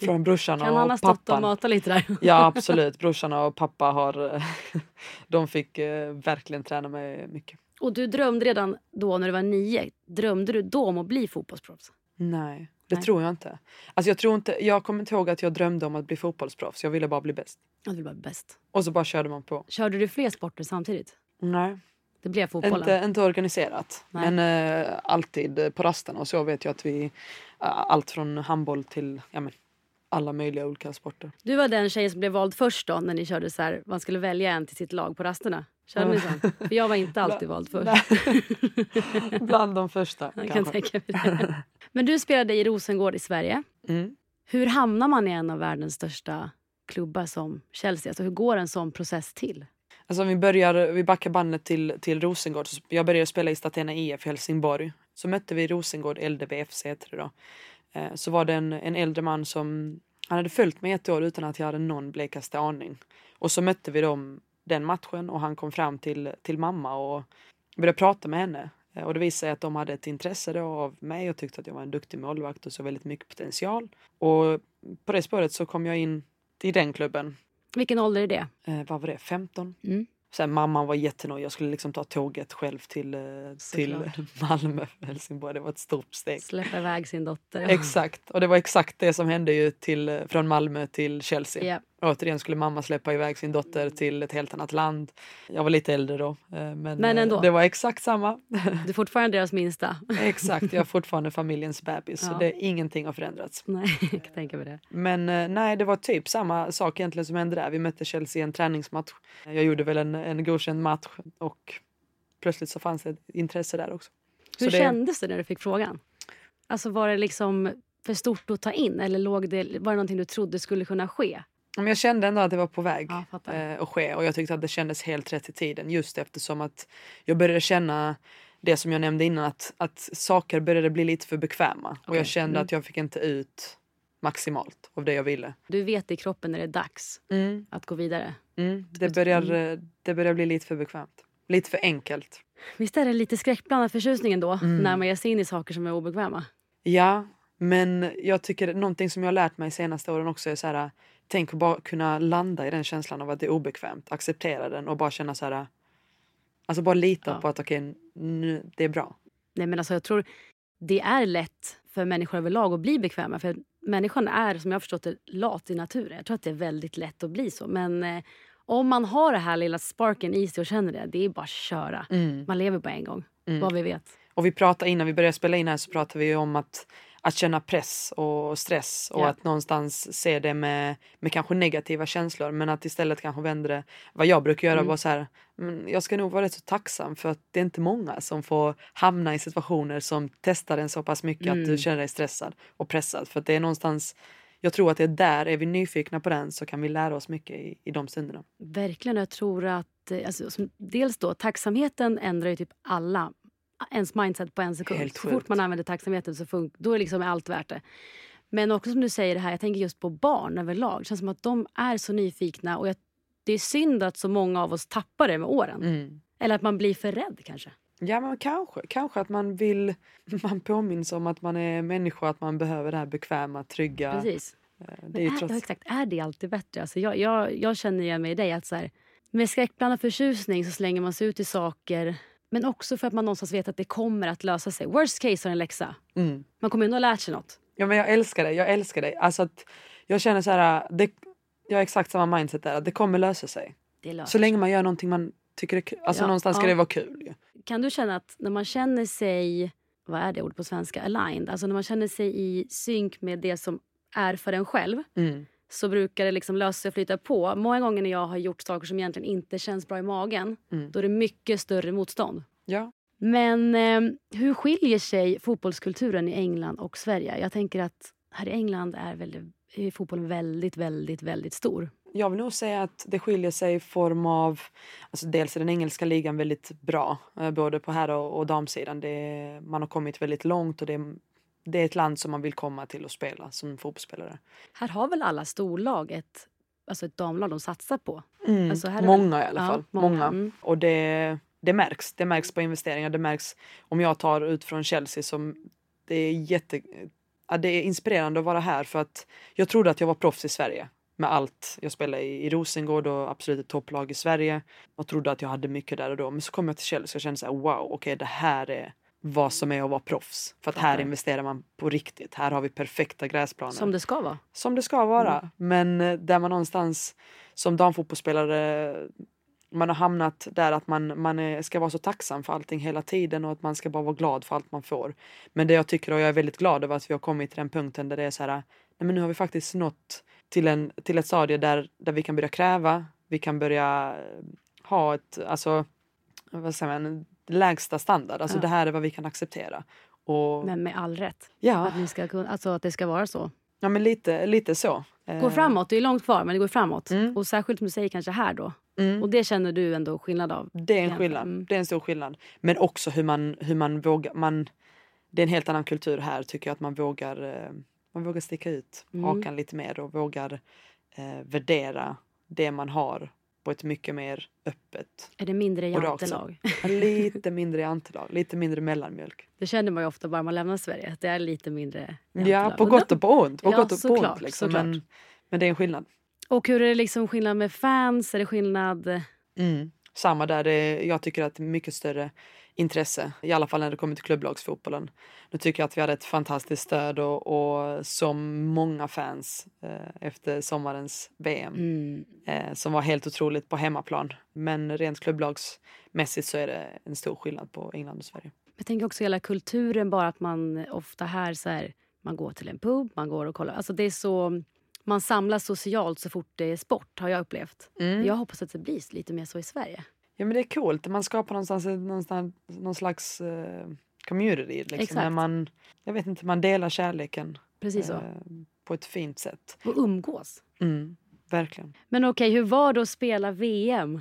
S1: Från brorsan
S2: Kan han ha
S1: och
S2: stått och
S1: pappan.
S2: matat lite där?
S1: Ja absolut, brorsan och pappa har... eh, de fick eh, verkligen träna mig mycket.
S2: Och du drömde redan då när du var nio, drömde du då om att bli fotbollsproffs?
S1: Nej, det
S2: Nej.
S1: tror jag inte. Alltså jag, tror inte jag kommer inte ihåg att jag drömde om att bli fotbollsproffs. Jag ville bara bli bäst.
S2: Ja, du var bäst.
S1: Och så bara körde man på.
S2: Körde du fler sporter samtidigt?
S1: Nej,
S2: Det blev fotbollen.
S1: inte, inte organiserat.
S2: Nej.
S1: Men eh, alltid eh, på rasten och så vet jag att vi... eh, allt från handboll till ja, men, alla möjliga olika sporter.
S2: Du var den tjejen som blev vald först då när ni körde så här, man skulle välja en till sitt lag på rasterna. Körde ni så? För jag var inte alltid vald först.
S1: Bland de första
S2: Jag kan
S1: kanske.
S2: tänka mig det. Men du spelade i Rosengård i Sverige.
S1: Mm.
S2: Hur hamnar man i en av världens största klubbar som Chelsea? Alltså, hur går en sån process till?
S1: Alltså om vi, börjar, vi backar bandet till, till Rosengård. Så jag började spela i Statena IF i Helsingborg. Så mötte vi Rosengård LDBFC heter det då. Eh, Så var det en, en äldre man som han hade följt mig ett år utan att jag hade någon blekaste aning. Och så mötte vi dem den matchen och han kom fram till, till mamma och började prata med henne. Eh, Och det visade sig att de hade ett intresse då av mig och tyckte att jag var en duktig målvakt och så väldigt mycket potential. Och på det spåret så kom jag in i den klubben.
S2: Vilken ålder är det?
S1: Eh, vad var det? 15?
S2: Mm.
S1: Sen mamman var jättenöjd. Jag skulle liksom ta tåget själv till, eh, till Malmö, Helsingborg. Det var ett stort steg.
S2: Släppa iväg sin dotter.
S1: Exakt. Och det var exakt det som hände ju till, eh, från Malmö till Chelsea.
S2: Ja. Mm.
S1: Återigen skulle mamma släppa iväg sin dotter till ett helt annat land. Jag var lite äldre då. eh, Men,
S2: Men
S1: eh,
S2: ändå.
S1: det var exakt samma.
S2: Du är fortfarande deras minsta.
S1: exakt. Jag är fortfarande familjens bebis.
S2: Ja.
S1: Så det, ingenting har förändrats.
S2: Nej, jag kan tänka mig det.
S1: Men eh, nej, det var typ samma sak egentligen som hände där. Vi mötte Chelsea i en träningsmatch. Jag gjorde väl en, en godkänd match och plötsligt så fanns det ett intresse där också. så
S2: Hur
S1: det,
S2: kändes det när du fick frågan? Alltså, var det liksom för stort att ta in eller låg det, var det någonting du trodde skulle kunna ske?
S1: men jag kände ändå att det var på väg
S2: Ja, fattar.
S1: eh, att ske och jag tyckte att det kändes helt rätt i tiden just eftersom att jag började känna det som jag nämnde innan att, att saker började bli lite för bekväma och
S2: Okej,
S1: jag kände
S2: mm.
S1: att jag fick inte ut maximalt av det jag ville.
S2: Du vet i kroppen när det är dags
S1: Mm,
S2: att gå vidare.
S1: mm, det, börjar, eh, det börjar bli lite för bekvämt. Lite för enkelt.
S2: Visst är det lite skräckblandad förtjusning ändå
S1: Mm.
S2: när man ger sig in i saker som är obekväma?
S1: Ja, men jag tycker att någonting som jag har lärt mig de senaste åren också är så här. Tänk att bara kunna landa i den känslan av att det är obekvämt, acceptera den och bara känna så här. Alltså bara lita
S2: Ja.
S1: på att okej, nu- det är bra.
S2: Nej, men alltså, jag tror det är lätt för människor överlag att bli bekväma. För Människan är, som jag har förstått det, lat i naturen. Jag tror att det är väldigt lätt att bli så. Men eh, om man har det här lilla sparken i sig och känner det, det är bara att köra. Man lever bara en gång,
S1: Mm.
S2: vad vi vet.
S1: Och vi pratade innan vi började spela in här så pratade vi om att, att känna press och stress och
S2: Ja.
S1: att någonstans se det med, med kanske negativa känslor men att istället kanske vända det. Vad jag brukar göra
S2: Mm.
S1: var så här, "Mm, jag ska nog vara rätt så tacksam för att det är inte många som får hamna i situationer som testar en så pass mycket att
S2: Mm.
S1: du känner dig stressad och pressad för att det är någonstans jag tror att det är där, är vi nyfikna på den så kan vi lära oss mycket i, i de stunderna.
S2: Verkligen. Jag tror att... eh, Alltså, som, dels då, tacksamheten ändrar ju typ alla. Ens mindset på en sekund.
S1: Helt
S2: så fort
S1: sjukt.
S2: man använder tacksamheten så fun- då är liksom allt värt det. Men också som du säger det här, jag tänker just på barn överlag. Det känns som att de är så nyfikna. Och jag, det är synd att så många av oss tappar det med åren.
S1: Mm.
S2: Eller att man blir för rädd kanske.
S1: Ja men kanske, kanske att man vill, man påminns om att man är människa att man behöver det här bekväma, trygga.
S2: Precis.
S1: Det är
S2: Men
S1: ju
S2: är,
S1: trots...
S2: ja, exakt, är det alltid bättre? Alltså jag, jag, jag känner igen mig i dig. Att så här, med skräckblandad förtjusning så slänger man sig ut i saker. Men också för att man någonstans vet att det kommer att lösa sig. Worst case har en läxa.
S1: Mm.
S2: Man kommer ändå ha lärt sig något.
S1: Ja, men jag älskar dig. Jag älskar dig. Alltså att jag känner så här, det, jag har exakt samma mindset där. Att det kommer lösa sig.
S2: Det löser
S1: Så länge man gör någonting man tycker är kul. Alltså
S2: Ja,
S1: någonstans ska
S2: ja.
S1: det vara kul. ju.
S2: Kan du känna att när man känner sig, vad är det ordet på svenska, aligned, alltså när man känner sig i synk med det som är för en själv
S1: Mm.
S2: så brukar det liksom lösa sig och flyta på. Många gånger när jag har gjort saker som egentligen inte känns bra i magen
S1: Mm.
S2: då är det mycket större motstånd.
S1: Ja.
S2: Men eh, hur skiljer sig fotbollskulturen i England och Sverige? Jag tänker att här i England är, väl, är fotbollen väldigt, väldigt, väldigt stor.
S1: Jag vill nog säga att det skiljer sig i form av... Alltså dels är den engelska ligan väldigt bra. eh, Både på herr och, och damsidan. Det är, man har kommit väldigt långt. och det är, det är ett land som man vill komma till och spela som fotbollsspelare.
S2: Här har väl alla storlag ett, alltså ett damlag de satsar på?
S1: Mm.
S2: Alltså, här är
S1: många i alla
S2: Ja,
S1: fall. många.
S2: Mm.
S1: Och det, det märks. Det märks på investeringar. Det märks om jag tar ut från Chelsea som det är jätte... Ja, det är inspirerande att vara här för att jag trodde att jag var proffs i Sverige med allt. Jag spelade i, i Rosengård och absolut ett topplag i Sverige. Jag trodde att jag hade mycket där och då. Men så kom jag till Chelsea och kände så här wow, okej det här är vad som är att vara proffs. För att här
S2: Fattar.
S1: investerar man på riktigt. Här har vi perfekta gräsplaner
S2: Som det ska vara.
S1: som det ska vara.
S2: Mm.
S1: Men eh, där man någonstans som damfotbollsspelare man har hamnat där att man, man eh, ska vara så tacksam för allting hela tiden och att man ska bara vara glad för allt man får. Men det jag tycker och jag är väldigt glad över att vi har kommit till den punkten där det är så här, nej men nu har vi faktiskt nått till, en, till ett stadie där, där vi kan börja kräva, vi kan börja eh, ha ett, alltså vad säger man, lägsta standard, alltså
S2: Ja.
S1: det här är vad vi kan acceptera. Och,
S2: Men med all rätt.
S1: ja,
S2: Att, ni ska, kunna- alltså att det ska vara så.
S1: ja, men lite, lite så.
S2: Gå
S1: Eh,
S2: framåt, det är långt kvar men det går framåt.
S1: Mm.
S2: Och särskilt som du säger kanske här då.
S1: Mm.
S2: Och det känner du ändå skillnad av.
S1: Det är en
S2: Ja,
S1: skillnad.
S2: mm.
S1: Det är en stor skillnad. Men också hur man, hur man vågar. Man, det är en helt annan kultur här tycker jag att man vågar, eh, man vågar sticka ut
S2: Mm.
S1: hakan lite mer och vågar eh, värdera det man har på ett mycket mer öppet.
S2: Är det mindre
S1: Och rakt
S2: jantelag?
S1: Lite mindre jantelag, lite mindre mellanmjölk.
S2: Det känner man ju ofta bara man lämnar Sverige. Att det är lite mindre jantelag.
S1: Ja, på gott och på ont. På
S2: Ja,
S1: gott och på ont
S2: såklart,
S1: liksom.
S2: såklart.
S1: men, men det är en skillnad.
S2: Och hur är det liksom skillnad med fans? Är det skillnad...
S1: Mm. Samma där. Det, jag tycker att det är mycket större intresse, i alla fall när det kommer till klubblagsfotbollen. Nu tycker jag att vi hade ett fantastiskt stöd och, och så många fans eh, efter sommarens VM
S2: Mm.
S1: eh, som var helt otroligt på hemmaplan. Men rent klubblagsmässigt så är det en stor skillnad på England och Sverige.
S2: Jag tänker också hela kulturen bara att man ofta här så här, man går till en pub, man går och kollar. Alltså det är så... Man samlas socialt så fort det är sport har jag upplevt.
S1: Mm.
S2: Jag hoppas att det blir lite mer så i Sverige.
S1: Ja, men det är coolt. Man skapar någonstans, någonstans någon slags eh, community. Liksom, när
S2: Exakt.
S1: man, jag vet inte, man delar kärleken
S2: Precis så.
S1: eh, på ett fint sätt.
S2: Och umgås.
S1: Mm, verkligen.
S2: Men okej, hur var det att spela VM?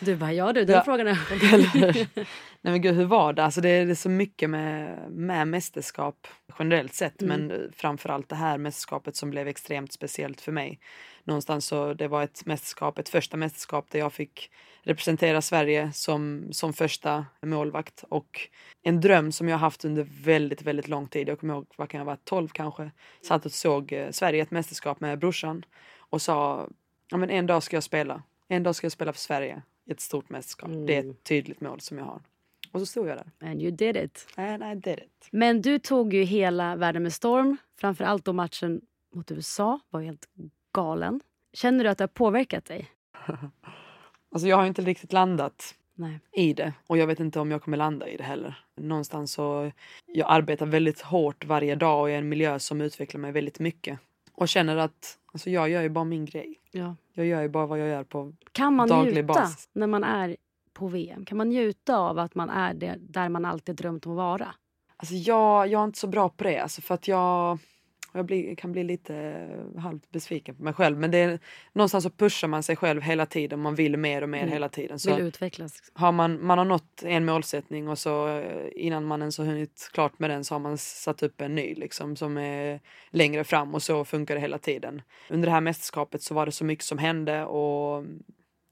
S2: Du bara, ja du, den
S1: Ja.
S2: frågan är...
S1: Eller, nej men gud, hur var det? Alltså det är det är så mycket med, med mästerskap generellt sett
S2: Mm.
S1: men eh, framförallt det här mästerskapet som blev extremt speciellt för mig. Någonstans så det var ett mästerskap, ett första mästerskap där jag fick representera Sverige som, som första målvakt och en dröm som jag haft under väldigt, väldigt lång tid. Jag kommer ihåg, vad kan jag vara, 12 kanske? Satt och såg eh, Sverige i ett mästerskap med brorsan och sa ja, men en dag ska jag spela. En dag ska jag spela för Sverige i ett stort mästerskap.
S2: Mm.
S1: Det är ett tydligt mål som jag har. Och så stod jag där.
S2: And you did it.
S1: And I did it.
S2: Men du tog ju hela världen med storm. Framförallt då matchen mot USA var ju helt galen. Känner du att det har påverkat dig?
S1: Alltså jag har inte riktigt landat
S2: Nej.
S1: i det och jag vet inte om jag kommer landa i det heller. Någonstans så jag arbetar väldigt hårt varje dag och är i en miljö som utvecklar mig väldigt mycket och känner att alltså jag gör ju bara min grej.
S2: Ja.
S1: Jag gör ju bara vad jag gör på.
S2: Kan man
S1: Daglig
S2: njuta
S1: basis.
S2: när man är på VM? Kan man njuta av att man är det, där man alltid drömt om att vara?
S1: Alltså jag, jag är inte så bra på det alltså för att jag jag blir, kan bli lite eh, halvt besviken på mig själv men det är, någonstans så pushar man sig själv hela tiden. Man vill mer och mer
S2: Mm.
S1: hela tiden. Så
S2: Vill utvecklas?
S1: har man, man har nått en målsättning och så eh, innan man ens har hunnit klart med den så har man satt upp en ny liksom som är längre fram och så funkar det hela tiden. Under det här mästerskapet så var det så mycket som hände och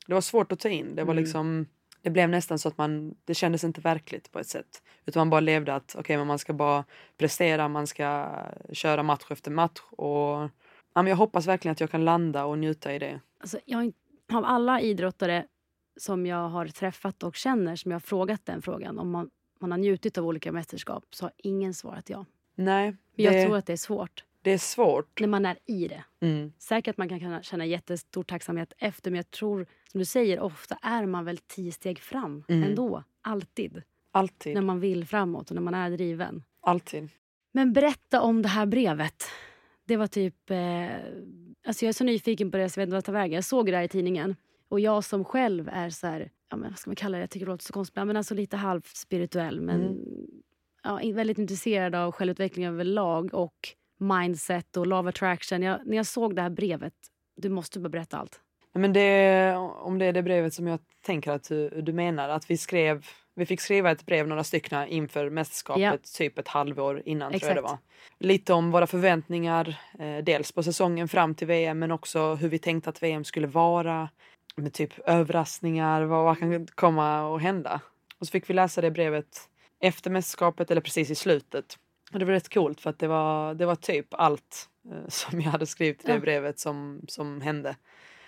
S1: det var svårt att ta in. Det var
S2: Mm.
S1: liksom det blev nästan så att man, det kändes inte verkligt på ett sätt. Utan man bara levde att okej men man ska bara prestera, man ska köra match efter match och Ja, men jag hoppas verkligen att jag kan landa och njuta i det.
S2: Alltså, jag, har inte- av alla idrottare som jag har träffat och känner som jag har frågat den frågan om man, man har njutit av olika mästerskap så har ingen svarat ja.
S1: Nej,
S2: Men jag
S1: det,
S2: tror att det är svårt
S1: det är svårt.
S2: när man är i det.
S1: Mm.
S2: Säkert att man kan kunna känna jättestor tacksamhet efter men jag tror, som du säger, ofta är man väl tio steg fram
S1: Mm.
S2: ändå. Alltid.
S1: Alltid.
S2: När man vill framåt och när man är driven.
S1: Alltid.
S2: Men berätta om det här brevet. Det var typ... Eh, alltså jag är så nyfiken på det så jag vet inte vad jag tar vägen. Jag såg det här i tidningen. Och jag som själv är så här... Ja, men vad ska man kalla det? Jag tycker det låter så konstigt. Ja, Men alltså lite halvt spirituell. Men
S1: Mm.
S2: ja, in- väldigt intresserad av självutveckling överlag och mindset och law of attraction. Jag, när jag såg det här brevet... Du måste bara berätta allt.
S1: Nej, Men det, om det är det brevet som jag tänker att du, du menar, att vi skrev vi fick skriva ett brev, några stycken, inför mästerskapet
S2: Ja.
S1: typ ett halvår innan. Tror jag det var.
S2: Exakt.
S1: Lite om våra förväntningar, eh, dels på säsongen fram till VM men också hur vi tänkte att VM skulle vara. Med typ överraskningar, vad, vad kan komma och hända? Och så fick vi läsa det brevet efter mästerskapet eller precis i slutet. Och det var rätt coolt för att det var, det var typ allt eh, som jag hade skrivit i det
S2: Ja.
S1: brevet som, som hände.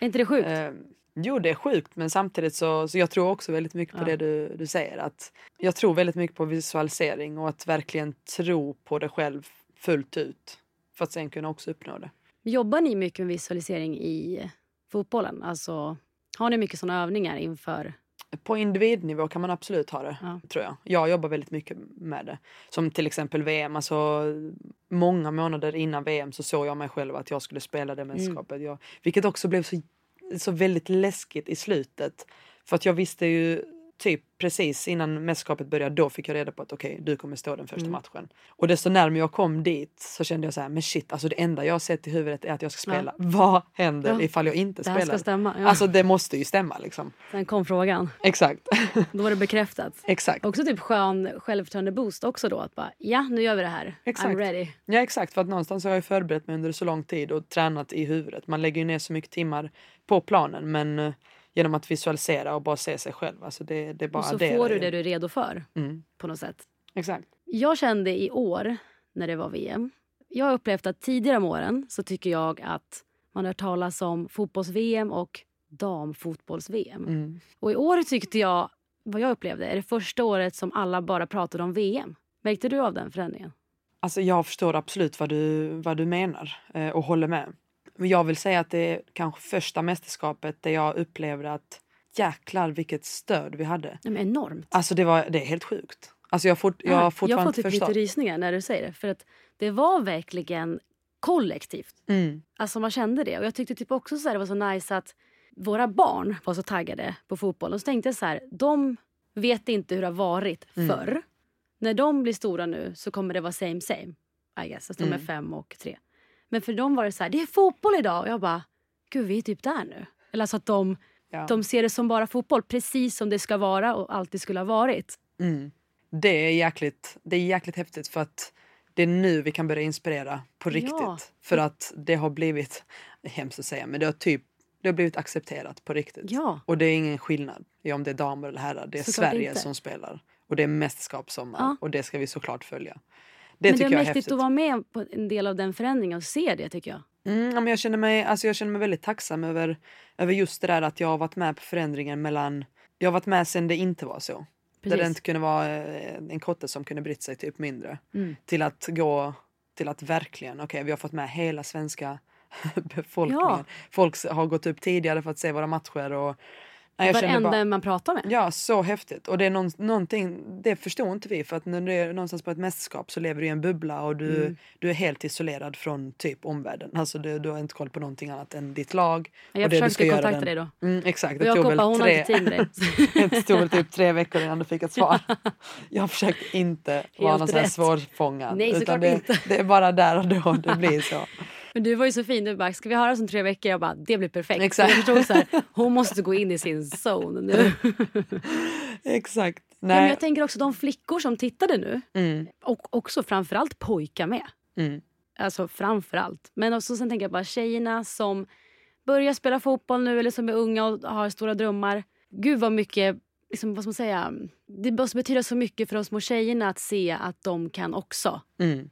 S2: Är inte det sjukt?
S1: Eh, jo, det är sjukt, men samtidigt så, så jag tror också väldigt mycket på
S2: Ja.
S1: det du, du säger. Att jag tror väldigt mycket på visualisering och att verkligen tro på det själv fullt ut för att sen kunna också uppnå det.
S2: Jobbar ni mycket med visualisering i fotbollen? Alltså, har ni mycket såna övningar inför...
S1: På individnivå kan man absolut ha det,
S2: Ja.
S1: tror jag. Jag jobbar väldigt mycket med det. Som till exempel VM. Alltså, många månader innan VM så såg jag mig själv att jag skulle spela det
S2: Mm.
S1: mästerskapet. Jag, vilket också blev så, så väldigt läskigt i slutet. För att jag visste ju typ precis innan mästerskapet började, då fick jag reda på att okej, du kommer stå den första
S2: Mm.
S1: matchen. Och desto närmare jag kom dit så kände jag så här, men shit, alltså det enda jag har sett i huvudet är att jag ska
S2: Ja.
S1: spela. Vad händer
S2: Ja.
S1: ifall jag inte
S2: Det här ska
S1: spelar?
S2: stämma. Ja.
S1: Alltså det måste ju stämma liksom.
S2: Sen kom frågan.
S1: Exakt,
S2: Då var det bekräftat.
S1: exakt.
S2: Också typ skön självförtroende boost också då. Att bara, ja nu gör vi det här.
S1: Exakt.
S2: I'm ready.
S1: Ja exakt, för att någonstans har jag ju förberett mig under så lång tid och tränat i huvudet. Man lägger ju ner så mycket timmar på planen men eh, genom att visualisera och bara se sig själv. Alltså det, det bara
S2: och så
S1: adderar
S2: får du
S1: ju.
S2: det du är redo för
S1: Mm,
S2: på något sätt.
S1: exakt.
S2: Jag kände i år när det var VM. Jag har upplevt att tidigare om åren så tycker jag att man har hört talas om fotbolls-VM och damfotbolls-VM.
S1: Mm.
S2: Och i år tyckte jag, vad jag upplevde, är det första året som alla bara pratade om VM. Märkte du av den förändringen?
S1: Alltså jag förstår absolut vad du, vad du menar eh, och håller med. Men jag vill säga att det är kanske första mästerskapet där jag upplevde att jäklar vilket stöd vi hade.
S2: Nej, men enormt.
S1: Alltså det, var, det är helt sjukt. Alltså jag, har fort, jag har
S2: jag
S1: fortfarande
S2: får
S1: inte
S2: typ
S1: förstått.
S2: lite rysningar när du säger det. För att det var verkligen kollektivt.
S1: Mm,
S2: Alltså man kände det. Och jag tyckte typ också så här, det var så nice att våra barn var så taggade på fotboll. Och så tänkte jag så här, de vet inte hur det har varit
S1: Mm.
S2: förr. När de blir stora nu så kommer det vara same same. I guess, att de
S1: Mm.
S2: är fem och tre. Men för dem var det så här, det är fotboll idag. Och jag bara, gud vi är typ där nu. Eller alltså att de,
S1: ja.
S2: de ser det som bara fotboll. Precis som det ska vara och alltid skulle ha varit.
S1: Mm. Det, är jäkligt, det är jäkligt häftigt för att det är nu vi kan börja inspirera på
S2: Ja.
S1: riktigt. För att det har blivit, hemskt att säga, men det har typ det har blivit accepterat på riktigt.
S2: Ja.
S1: Och det är ingen skillnad i om det är damer eller herrar. Det är
S2: Såklart
S1: Sverige
S2: inte.
S1: som spelar. Och det är mästerskap sommar.
S2: Ja.
S1: Och det ska vi såklart följa. Det
S2: Men det
S1: tycker
S2: är
S1: jag är
S2: mäktigt
S1: häftigt.
S2: att vara med på en del av den förändringen och se det tycker jag.
S1: Mm, ja, men jag, känner mig, alltså jag känner mig väldigt tacksam över, över just det där att jag har varit med på förändringen mellan... Jag har varit med sen det inte var så. Där det
S2: Precis.
S1: inte kunde vara eh, en kotte som kunde brytt sig typ mindre.
S2: Mm.
S1: Till att gå till att verkligen, okej vi har fått med hela svenska befolkningen.
S2: Ja.
S1: Folk har gått upp tidigare för att se våra matcher och... Nej, jag känner
S2: Varenda
S1: bara,
S2: man pratar med.
S1: ja, så häftigt. Och det är någon, någonting, det förstår inte vi för att när du är någonstans på ett mästerskap så lever du i en bubbla och du,
S2: Mm.
S1: du är helt isolerad från typ omvärlden. Alltså du, du har inte koll på någonting annat än ditt lag.
S2: Jag
S1: och det du ska
S2: försökte
S1: göra
S2: kontakta
S1: den-
S2: dig då.
S1: Mm, exakt,
S2: Och
S1: det
S2: jag
S1: tog
S2: koppar,
S1: väl
S2: hon har
S1: tre...
S2: inte tid med dig.
S1: Det tog väl typ tre veckor innan du fick ett svar. Jag försökte inte vara
S2: Helt
S1: någon sån här
S2: rätt.
S1: svårfångad.
S2: Nej, såklart
S1: det,
S2: inte.
S1: det är bara där och då det blir så.
S2: Men du var ju så fin. Du bara, ska vi höra om tre veckor? Jag bara, det blir perfekt.
S1: Exakt.
S2: Exakt. Jag förstod så här, hon måste gå in i sin zone nu.
S1: Exakt.
S2: Ja, men
S1: Nej.
S2: jag tänker också de flickor som tittade nu.
S1: Mm,
S2: Och också framförallt pojkar med.
S1: mm,
S2: Alltså framförallt. Men också sen tänker jag bara tjejerna som börjar spela fotboll nu eller som är unga och har stora drömmar. Gud vad mycket, liksom, vad ska man säga? Det måste betyda så mycket för de små tjejerna att se att de kan också.
S1: mm.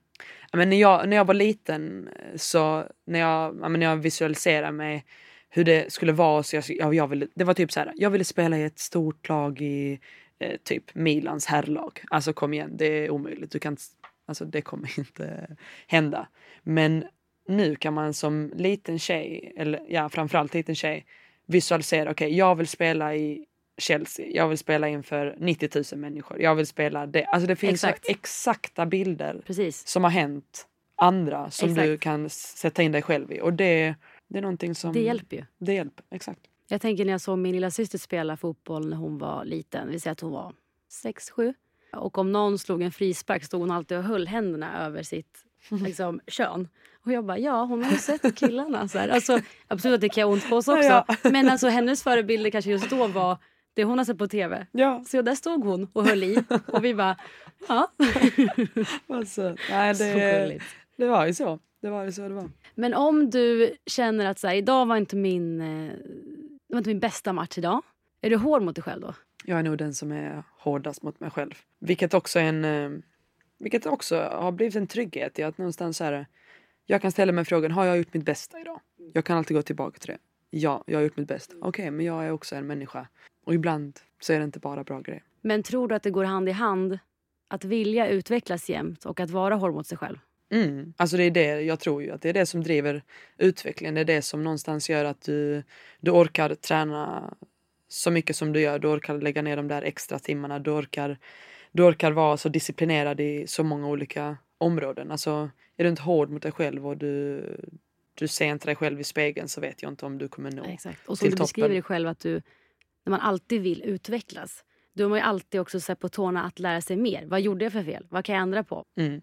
S1: Ja, Men när, jag, när jag var liten eh, så när jag, ja, men när jag visualiserade mig hur det skulle vara så jag, jag, jag ville, det var typ så här, jag ville spela i ett stort lag i eh, typ Milans herrlag. Alltså kom igen, det är omöjligt. Du kan, inte- alltså, det kommer inte hända. Men nu kan man som liten tjej, eller ja, framförallt liten tjej, visualisera, okej jag vill spela i Chelsea, jag vill spela inför 90 000 människor, jag vill spela det. Alltså det finns
S2: Exakt.
S1: så exakta bilder
S2: Precis.
S1: som har hänt andra som
S2: Exakt.
S1: du kan s- sätta in dig själv i. Och det, det är någonting som...
S2: Det hjälper ju.
S1: Det hjälper, exakt.
S2: Jag tänker när jag såg min lilla syster spela fotboll när hon var liten. Vi säger att hon var sex, sju. Och om någon slog en frispark stod hon alltid och höll händerna över sitt liksom, kön. Och jag bara, ja hon har ju sett killarna. Så här. Alltså, absolut att det kan göra ont på oss också.
S1: Ja,
S2: Men alltså, hennes förebilder kanske just då var det hon har sett på tv.
S1: Ja,
S2: Så där stod hon och höll i. Och vi bara, ja.
S1: alltså, nej,
S2: Så
S1: det,
S2: gulligt.
S1: det var ju så. Det var ju så det var.
S2: Men om du känner att så här, idag var inte min, eh, det var inte min bästa match idag. Är du hård mot dig själv då?
S1: Jag är nog den som är hårdast mot mig själv. Vilket också är en... eh, Vilket också har blivit en trygghet i att någonstans så här... Jag kan ställa mig frågan, har jag gjort mitt bästa idag? Jag kan alltid gå tillbaka till det. Ja, jag har gjort mitt bästa. Okej, men jag är också en människa. Och ibland så är det inte bara bra grejer.
S2: Men tror du att det går hand i hand att vilja utvecklas jämt och att vara hård mot sig själv?
S1: Mm. Alltså det är det, jag tror ju att det är det som driver utvecklingen. Det är det som någonstans gör att du, du orkar träna så mycket som du gör. Du orkar lägga ner de där extra timmarna. Du orkar, du orkar vara så disciplinerad i så många olika områden. Alltså är du inte hård mot dig själv och du, du ser inte dig själv i spegeln så vet jag inte om du kommer nå.
S2: Exakt. Och som
S1: Till
S2: du
S1: toppen.
S2: beskriver dig själv, att du, när man alltid vill utvecklas. Då är man ju alltid också så här på tårna att lära sig mer. Vad gjorde jag för fel? Vad kan jag ändra på?
S1: Mm.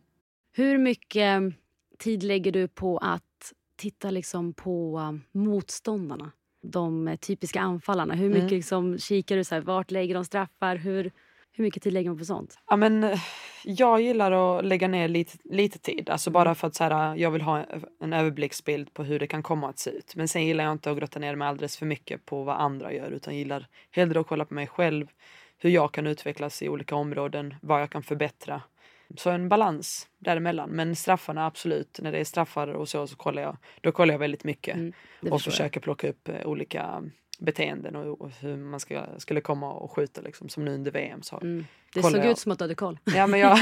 S2: Hur mycket mm, tid lägger du på att titta liksom på um, motståndarna? De eh, typiska anfallarna. Hur mycket
S1: Mm.
S2: liksom kikar du? Så här, vart lägger de straffar? Hur, hur mycket tid lägger man på sånt?
S1: Ja, men, eh, jag gillar att lägga ner lite, lite tid. Alltså
S2: Mm.
S1: bara för att så här, jag vill ha en överblicksbild på hur det kan komma att se ut. Men sen gillar jag inte att grotta ner mig alldeles för mycket på vad andra gör. Utan gillar hellre att kolla på mig själv. Hur jag kan utvecklas i olika områden. Vad jag kan förbättra. Så en balans däremellan. Men straffarna absolut. När det är straffar och så, så kollar jag. Då kollar jag väldigt mycket.
S2: Mm, Det
S1: och
S2: förstår jag.
S1: försöker plocka upp eh, olika beteenden och, och hur man ska, skulle komma och skjuta liksom. Som nu under VM så
S2: Mm. Det
S1: kollar
S2: såg
S1: jag.
S2: ut som att du hade koll.
S1: Ja, men jag...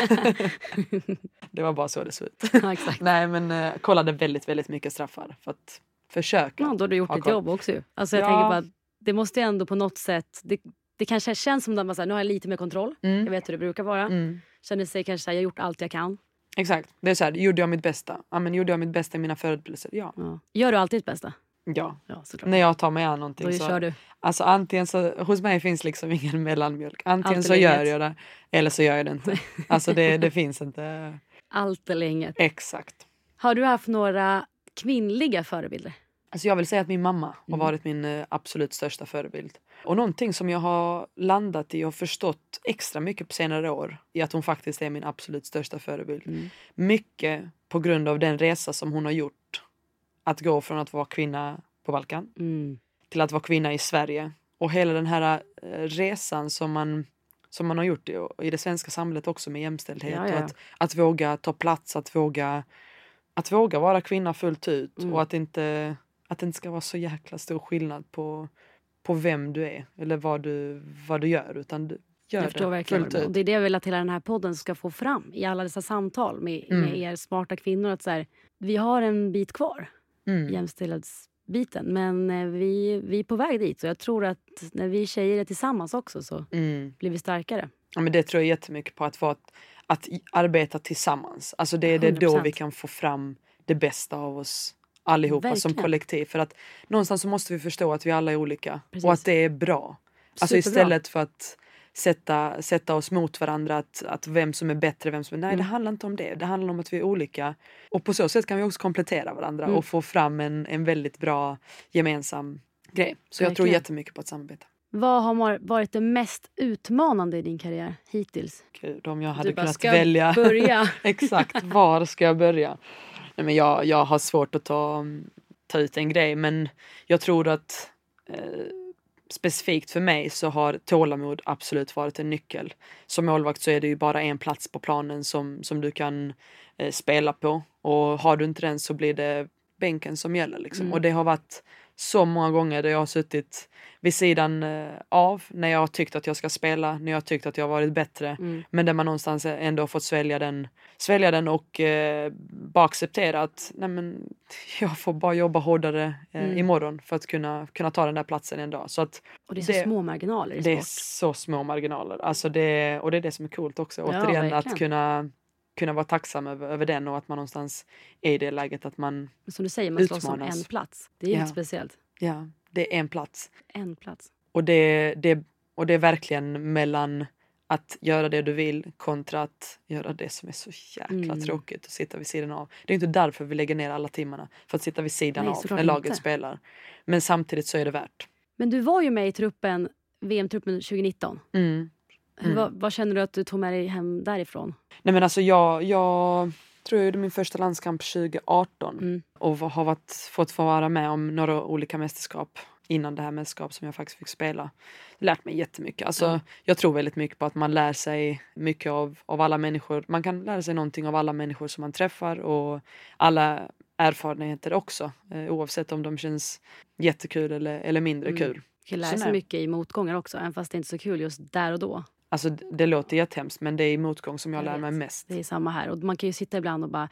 S1: det var bara så det såg ut.
S2: ja, exakt.
S1: Nej, men eh, kollade väldigt, väldigt mycket straffar för att försöka.
S2: Ja, då har du gjort
S1: Ha
S2: ditt
S1: koll.
S2: jobb också. ju. Alltså, jag
S1: Ja.
S2: tänker bara, att det måste ju ändå på något sätt... Det, det kanske känns som att man, så här, nu har jag lite mer kontroll. Jag
S1: Mm.
S2: vet hur det brukar vara.
S1: Mm.
S2: Känner sig kanske så här, jag har gjort allt jag kan.
S1: Exakt. Det är så här, gjorde jag mitt bästa? Ja, men gjorde jag mitt bästa i mina förberedelser? Ja. Mm,
S2: Ja. Gör du alltid ditt bästa?
S1: ja.
S2: Ja, såklart.
S1: När jag tar mig an
S2: Då
S1: någonting så...
S2: kör du.
S1: Alltså antingen så, hos mig finns liksom ingen mellanmjölk. Antingen
S2: Allt
S1: så
S2: eller
S1: gör
S2: inget.
S1: jag det eller så gör jag det inte. Alltså det, det finns inte
S2: Allt eller inget.
S1: exakt.
S2: Har du haft några kvinnliga förebilder?
S1: Alltså jag vill säga att min mamma
S2: Mm.
S1: har varit min eh, absolut största förebild. Och någonting som jag har landat i och förstått extra mycket på senare år är att hon faktiskt är min absolut största förebild.
S2: Mm.
S1: Mycket på grund av den resa som hon har gjort. Att gå från att vara kvinna på Balkan
S2: Mm.
S1: till att vara kvinna i Sverige. Och hela den här eh, resan som man, som man har gjort i, i det svenska samhället också med jämställdhet.
S2: Ja, ja.
S1: Och att, att våga ta plats, att våga, att våga vara kvinna fullt ut.
S2: Mm.
S1: Och att, inte, att det inte ska vara så jäkla stor skillnad på, på vem du är eller vad du, vad du gör. Utan du gör
S2: Jag förstår
S1: det
S2: verkligen.
S1: fullt
S2: vad du menar. Och
S1: ut.
S2: det är det jag vill att hela den här podden ska få fram i alla dessa samtal med, med
S1: Mm.
S2: er smarta kvinnor. Att så här, vi har en bit kvar.
S1: Mm.
S2: jämställdhetsbiten. Men eh, vi, vi är på väg dit. Så jag tror att när vi tjejer är tillsammans också så
S1: Mm.
S2: blir vi starkare.
S1: Ja, men det tror jag jättemycket på att, vara, att i- arbeta tillsammans. Alltså det är det då
S2: 100%.
S1: vi kan få fram det bästa av oss allihopa som
S2: Verkligen.
S1: kollektiv. För att någonstans så måste vi förstå att vi alla är olika
S2: Precis.
S1: och att det är bra. Alltså
S2: Superbra.
S1: istället för att sätta, sätta oss mot varandra, att, att vem som är bättre, vem som är... Nej,
S2: Mm.
S1: det handlar inte om det. Det handlar om att vi är olika. Och på så sätt kan vi också komplettera varandra
S2: Mm.
S1: och få fram en, en väldigt bra gemensam grej. Så jag tror
S2: Verkligen.
S1: jättemycket på att samarbeta.
S2: Vad har mar- varit det mest utmanande i din karriär hittills?
S1: Gud, om jag hade
S2: bara,
S1: kunnat
S2: "Ska jag
S1: välja... Mm.
S2: Börja.
S1: Exakt, var ska jag börja? Nej, men jag, jag har svårt att ta, ta ut en grej men jag tror att eh, specifikt för mig så har tålamod absolut varit en nyckel. Som målvakt så är det ju bara en plats på planen som, som du kan eh, spela på och har du inte den så blir det bänken som gäller. Liksom.
S2: Mm.
S1: Och det har varit så många gånger där jag har suttit vid sidan eh, av när jag har tyckt att jag ska spela, när jag har tyckt att jag har varit bättre.
S2: Mm.
S1: Men där man någonstans ändå har fått svälja den, svälja den och eh, bara acceptera att nej men, jag får bara jobba hårdare eh,
S2: Mm.
S1: imorgon för att kunna, kunna ta den där platsen en dag. Så att
S2: Och det är så
S1: Det-
S2: små marginaler i
S1: det är
S2: sport.
S1: så små marginaler. Alltså det, och det är det som är coolt också.
S2: Ja,
S1: Återigen
S2: verkligen.
S1: att kunna, kunna vara tacksam över, över den och att man någonstans är i det läget att man,
S2: Men som du säger, man slåss om
S1: Utmanas.
S2: en plats. Det är ju
S1: Ja.
S2: lite speciellt.
S1: ja, det är en plats.
S2: En plats.
S1: Och det, det, och det är verkligen mellan att göra det du vill kontra att göra det som är så jäkla
S2: Mm.
S1: tråkigt och sitta vid sidan av. Det är inte därför vi lägger ner alla timmarna, för att sitta vid sidan
S2: Nej,
S1: av
S2: såklart
S1: när laget
S2: inte.
S1: spelar. Men samtidigt så är det värt.
S2: Men du var ju med i truppen, VM-truppen 2019.
S1: Mm. Mm.
S2: Vad, vad känner du att du tog med dig hem därifrån?
S1: Nej men alltså jag, jag tror jag gjorde min första landskamp 2018
S2: Mm.
S1: och har varit, fått vara med om några olika mästerskap innan det här mästerskap som jag faktiskt fick spela. Lärt mig jättemycket. Alltså,
S2: Ja.
S1: Jag tror väldigt mycket på att man lär sig mycket av, av alla människor. Man kan lära sig någonting av alla människor som man träffar och alla erfarenheter också. Eh, oavsett om de känns jättekul eller, eller mindre
S2: Mm.
S1: kul.
S2: Du kan lära
S1: Så
S2: sig
S1: nej.
S2: mycket i motgångar också, även fast det inte är så kul just där och då.
S1: Alltså det, det låter jättehemskt men det är i motgång som jag,
S2: Jag
S1: lär
S2: vet.
S1: mig mest.
S2: Det är samma här. Och man kan ju sitta ibland och bara,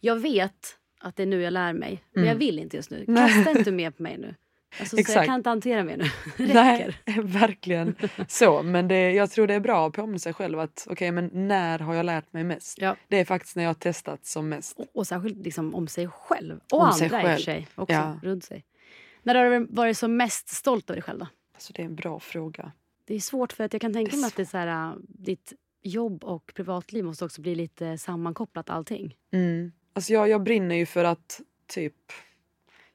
S2: jag vet att det är nu jag lär mig, men jag
S1: Mm.
S2: vill inte just nu.
S1: Nej.
S2: Kasta inte mer på mig nu. Alltså, så jag
S1: Exakt.
S2: kan inte hantera mer nu. Det
S1: Nej,
S2: räcker.
S1: verkligen så. Men det, jag tror det är bra att påminna sig själv att okej, men när har jag lärt mig mest?
S2: Ja.
S1: Det är faktiskt när jag har testat som mest.
S2: Och, och särskilt liksom om sig själv. Och
S1: Om
S2: andra
S1: sig
S2: i och
S1: själv.
S2: för sig. Också,
S1: Ja.
S2: runt sig. När har du varit som mest stolt över dig själv? Då?
S1: Alltså det är en bra fråga.
S2: Det är svårt för att jag kan tänka
S1: Det är
S2: mig att det är så här, äh, ditt jobb och privatliv måste också bli lite sammankopplat allting.
S1: Mm. Alltså jag, jag brinner ju för att typ,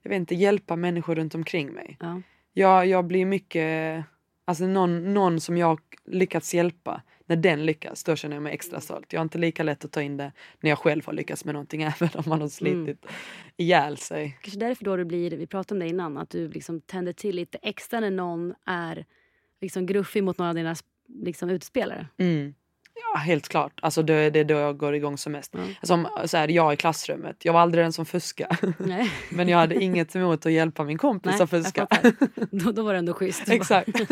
S1: jag vet inte, hjälpa människor runt omkring mig.
S2: Ja.
S1: Jag, jag blir mycket, alltså någon, någon som jag lyckats hjälpa, när den lyckas, då känner jag mig
S2: Mm.
S1: extra stolt. Jag har inte lika lätt att ta in det när jag själv har lyckats med någonting, även om man har
S2: Mm.
S1: slitit ihjäl sig.
S2: Kanske därför då du blir, vi pratade om det innan, att du liksom tänder till lite extra när någon är liksom gruffig mot några av dina liksom, utspelare.
S1: Mm. Ja, helt klart. Alltså det, är- det är då jag går igång som mest.
S2: Ja.
S1: Som så här, jag i klassrummet. Jag var aldrig den som fuskade.
S2: Nej,
S1: Men jag hade inget emot att hjälpa min kompis
S2: nej,
S1: att fuska.
S2: jag fattar. då, då var det ändå schysst. Du bara,
S1: Exakt.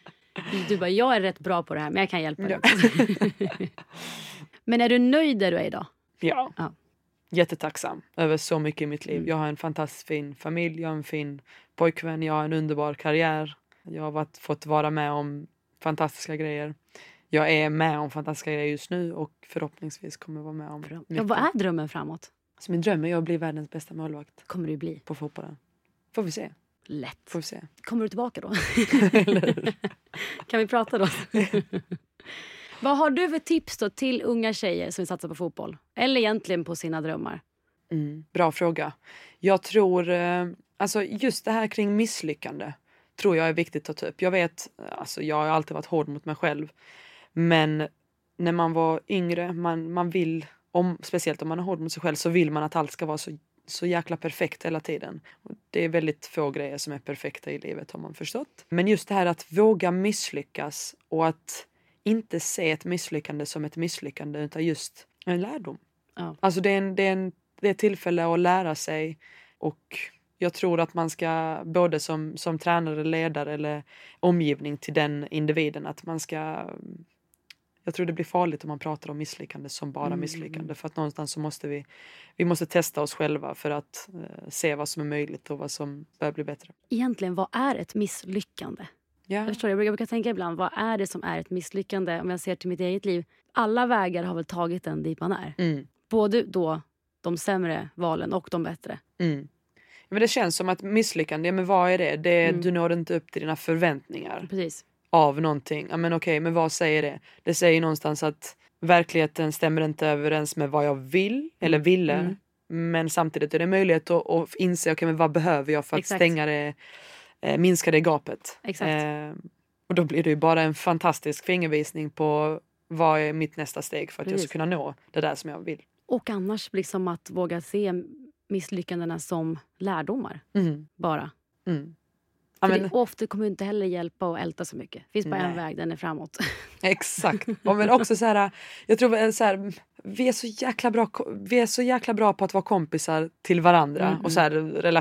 S2: du bara, jag är rätt bra på det här men jag kan hjälpa dig.
S1: Ja.
S2: men är du nöjd där du är idag?
S1: Ja.
S2: Ja.
S1: Jättetacksam över så mycket i mitt liv.
S2: Mm.
S1: Jag har en fantastiskt fin familj, jag har en fin pojkvän, jag har en underbar karriär. Jag har varit, fått vara med om fantastiska grejer. Jag är med om fantastiska grejer just nu och förhoppningsvis kommer vara med om
S2: Ja, vad är drömmen framåt?
S1: Så min dröm är att bli världens bästa målvakt
S2: Kommer du bli?
S1: på fotbollen. Får vi se.
S2: Lätt.
S1: Får vi se.
S2: Kommer du tillbaka då?
S1: Eller hur?
S2: Kan vi prata då? Vad har du för tips då till unga tjejer som vill satsa på fotboll? Eller egentligen på sina drömmar?
S1: Mm, bra fråga. Jag tror, eh, alltså just det här kring misslyckande tror jag är viktigt att ta upp. Jag vet, alltså jag har alltid varit hård mot mig själv. Men när man var yngre, man, man vill, om, speciellt om man är hård mot sig själv, så vill man att allt ska vara så, så jäkla perfekt hela tiden. Och det är väldigt få grejer som är perfekta i livet har man förstått. Men just det här att våga misslyckas och att inte se ett misslyckande som ett misslyckande utan just en lärdom.
S2: Ja.
S1: Alltså det är, en, det, är en, det är ett tillfälle att lära sig och jag tror att man ska både som, som tränare, ledare eller omgivning till den individen att man ska jag tror det blir farligt om man pratar om misslyckande som bara
S2: Mm.
S1: misslyckande för att någonstans så måste vi vi måste testa oss själva för att eh, se vad som är möjligt och vad som bör bli bättre.
S2: Egentligen, vad är ett misslyckande?
S1: Ja.
S2: Jag, förstår, jag brukar, jag brukar tänka ibland, vad är det som är ett misslyckande? Om jag ser till mitt eget liv. Alla vägar har väl tagit en dit man är.
S1: Mm,
S2: Både då de sämre valen och de bättre.
S1: mm. Men det känns som att misslyckande, ja, men vad är det? det är,
S2: Mm.
S1: Du når inte upp till dina förväntningar.
S2: Precis.
S1: av någonting. Ja, men okej, men vad säger det? Det säger någonstans att verkligheten stämmer inte överens med vad jag vill eller ville.
S2: Mm.
S1: Men samtidigt är det möjlighet att, att inse okej, men vad behöver jag för att
S2: Exakt.
S1: stänga det, eh, minska det gapet.
S2: Exakt.
S1: Eh, och då blir det ju bara en fantastisk fingervisning på vad är mitt nästa steg för att jag
S2: Precis.
S1: ska kunna nå det där som jag vill.
S2: Och annars liksom att våga se misslyckandena som lärdomar
S1: Mm.
S2: bara.
S1: Mm. Ja,
S2: För
S1: men,
S2: det, och ofta kommer inte heller hjälpa att älta så mycket. Det finns bara en
S1: Nej.
S2: väg, den är framåt.
S1: Exakt. Ja, men också så här, jag tror eh, så här, vi, är så jäkla bra, ko- vi är så jäkla bra på att vara kompisar till varandra
S2: Mm,
S1: och så här,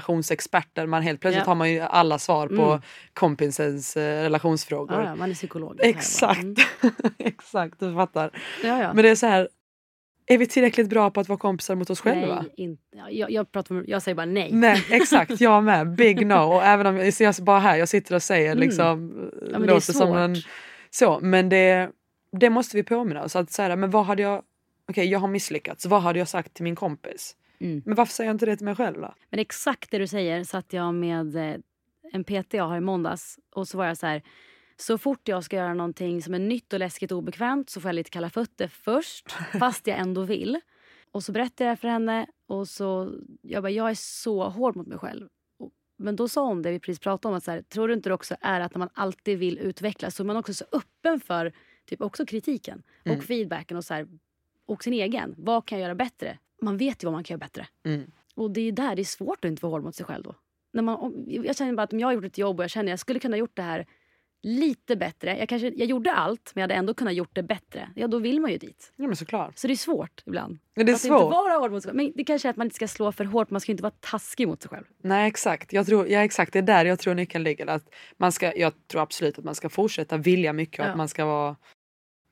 S1: relationsexperter. Man helt plötsligt
S2: Ja.
S1: har man ju alla svar på
S2: Mm.
S1: kompisens eh, relationsfrågor.
S2: Ja, ja, man är psykolog.
S1: Exakt.
S2: Mm.
S1: Exakt, du fattar.
S2: Ja, ja.
S1: Men det är så här, är vi tillräckligt bra på att vara kompisar mot oss själva?
S2: Nej, inte. ja, Jag, jag, pratar om, jag säger bara nej.
S1: Nej, exakt. Jag med. Big no. Och även om jag, så jag bara här, jag sitter och säger
S2: Mm.
S1: liksom,
S2: ja, men det är
S1: låter
S2: svårt.
S1: som en... Så, men det, det måste vi påminna oss. Att så här, men vad hade jag... Okej, jag har misslyckats. Vad hade jag sagt till min kompis?
S4: Mm.
S1: Men varför säger jag inte det till mig själv då?
S2: Men exakt det du säger satt jag med eh, en PT jag har i måndags och så var jag så här. Så fort jag ska göra någonting som är nytt och läskigt och obekvämt så får jag lite kalla fötter först, fast jag ändå vill. Och så berättade jag det här för henne och så jag bara, jag är så hård mot mig själv. Och- Men då sa hon det vi precis pratade om, att så här, tror du inte det också är att när man alltid vill utvecklas så är man också så öppen för typ också kritiken och
S1: Mm.
S2: feedbacken och, så här, och sin egen. Vad kan jag göra bättre? Man vet ju vad man kan göra bättre.
S1: Mm.
S2: Och det är ju där det är svårt att inte vara hård mot sig själv då. När man, om, jag känner bara att om jag har gjort ett jobb och jag känner att jag skulle kunna ha gjort det här lite bättre. Jag, kanske, jag gjorde allt men jag hade ändå kunnat gjort det bättre. Ja då vill man ju dit.
S1: Ja, men såklart.
S2: Så det är svårt ibland.
S1: Men det är
S2: att inte
S1: svårt.
S2: vara hård mot sig själv. Men det kanske är att man inte ska slå för hårt. Man ska ju inte vara taskig mot sig själv.
S1: Nej, exakt. Jag tror, ja, exakt. Det är där jag tror nyckeln ligger. Att man ska, jag tror absolut att man ska fortsätta vilja mycket och
S2: Ja.
S1: att man ska vara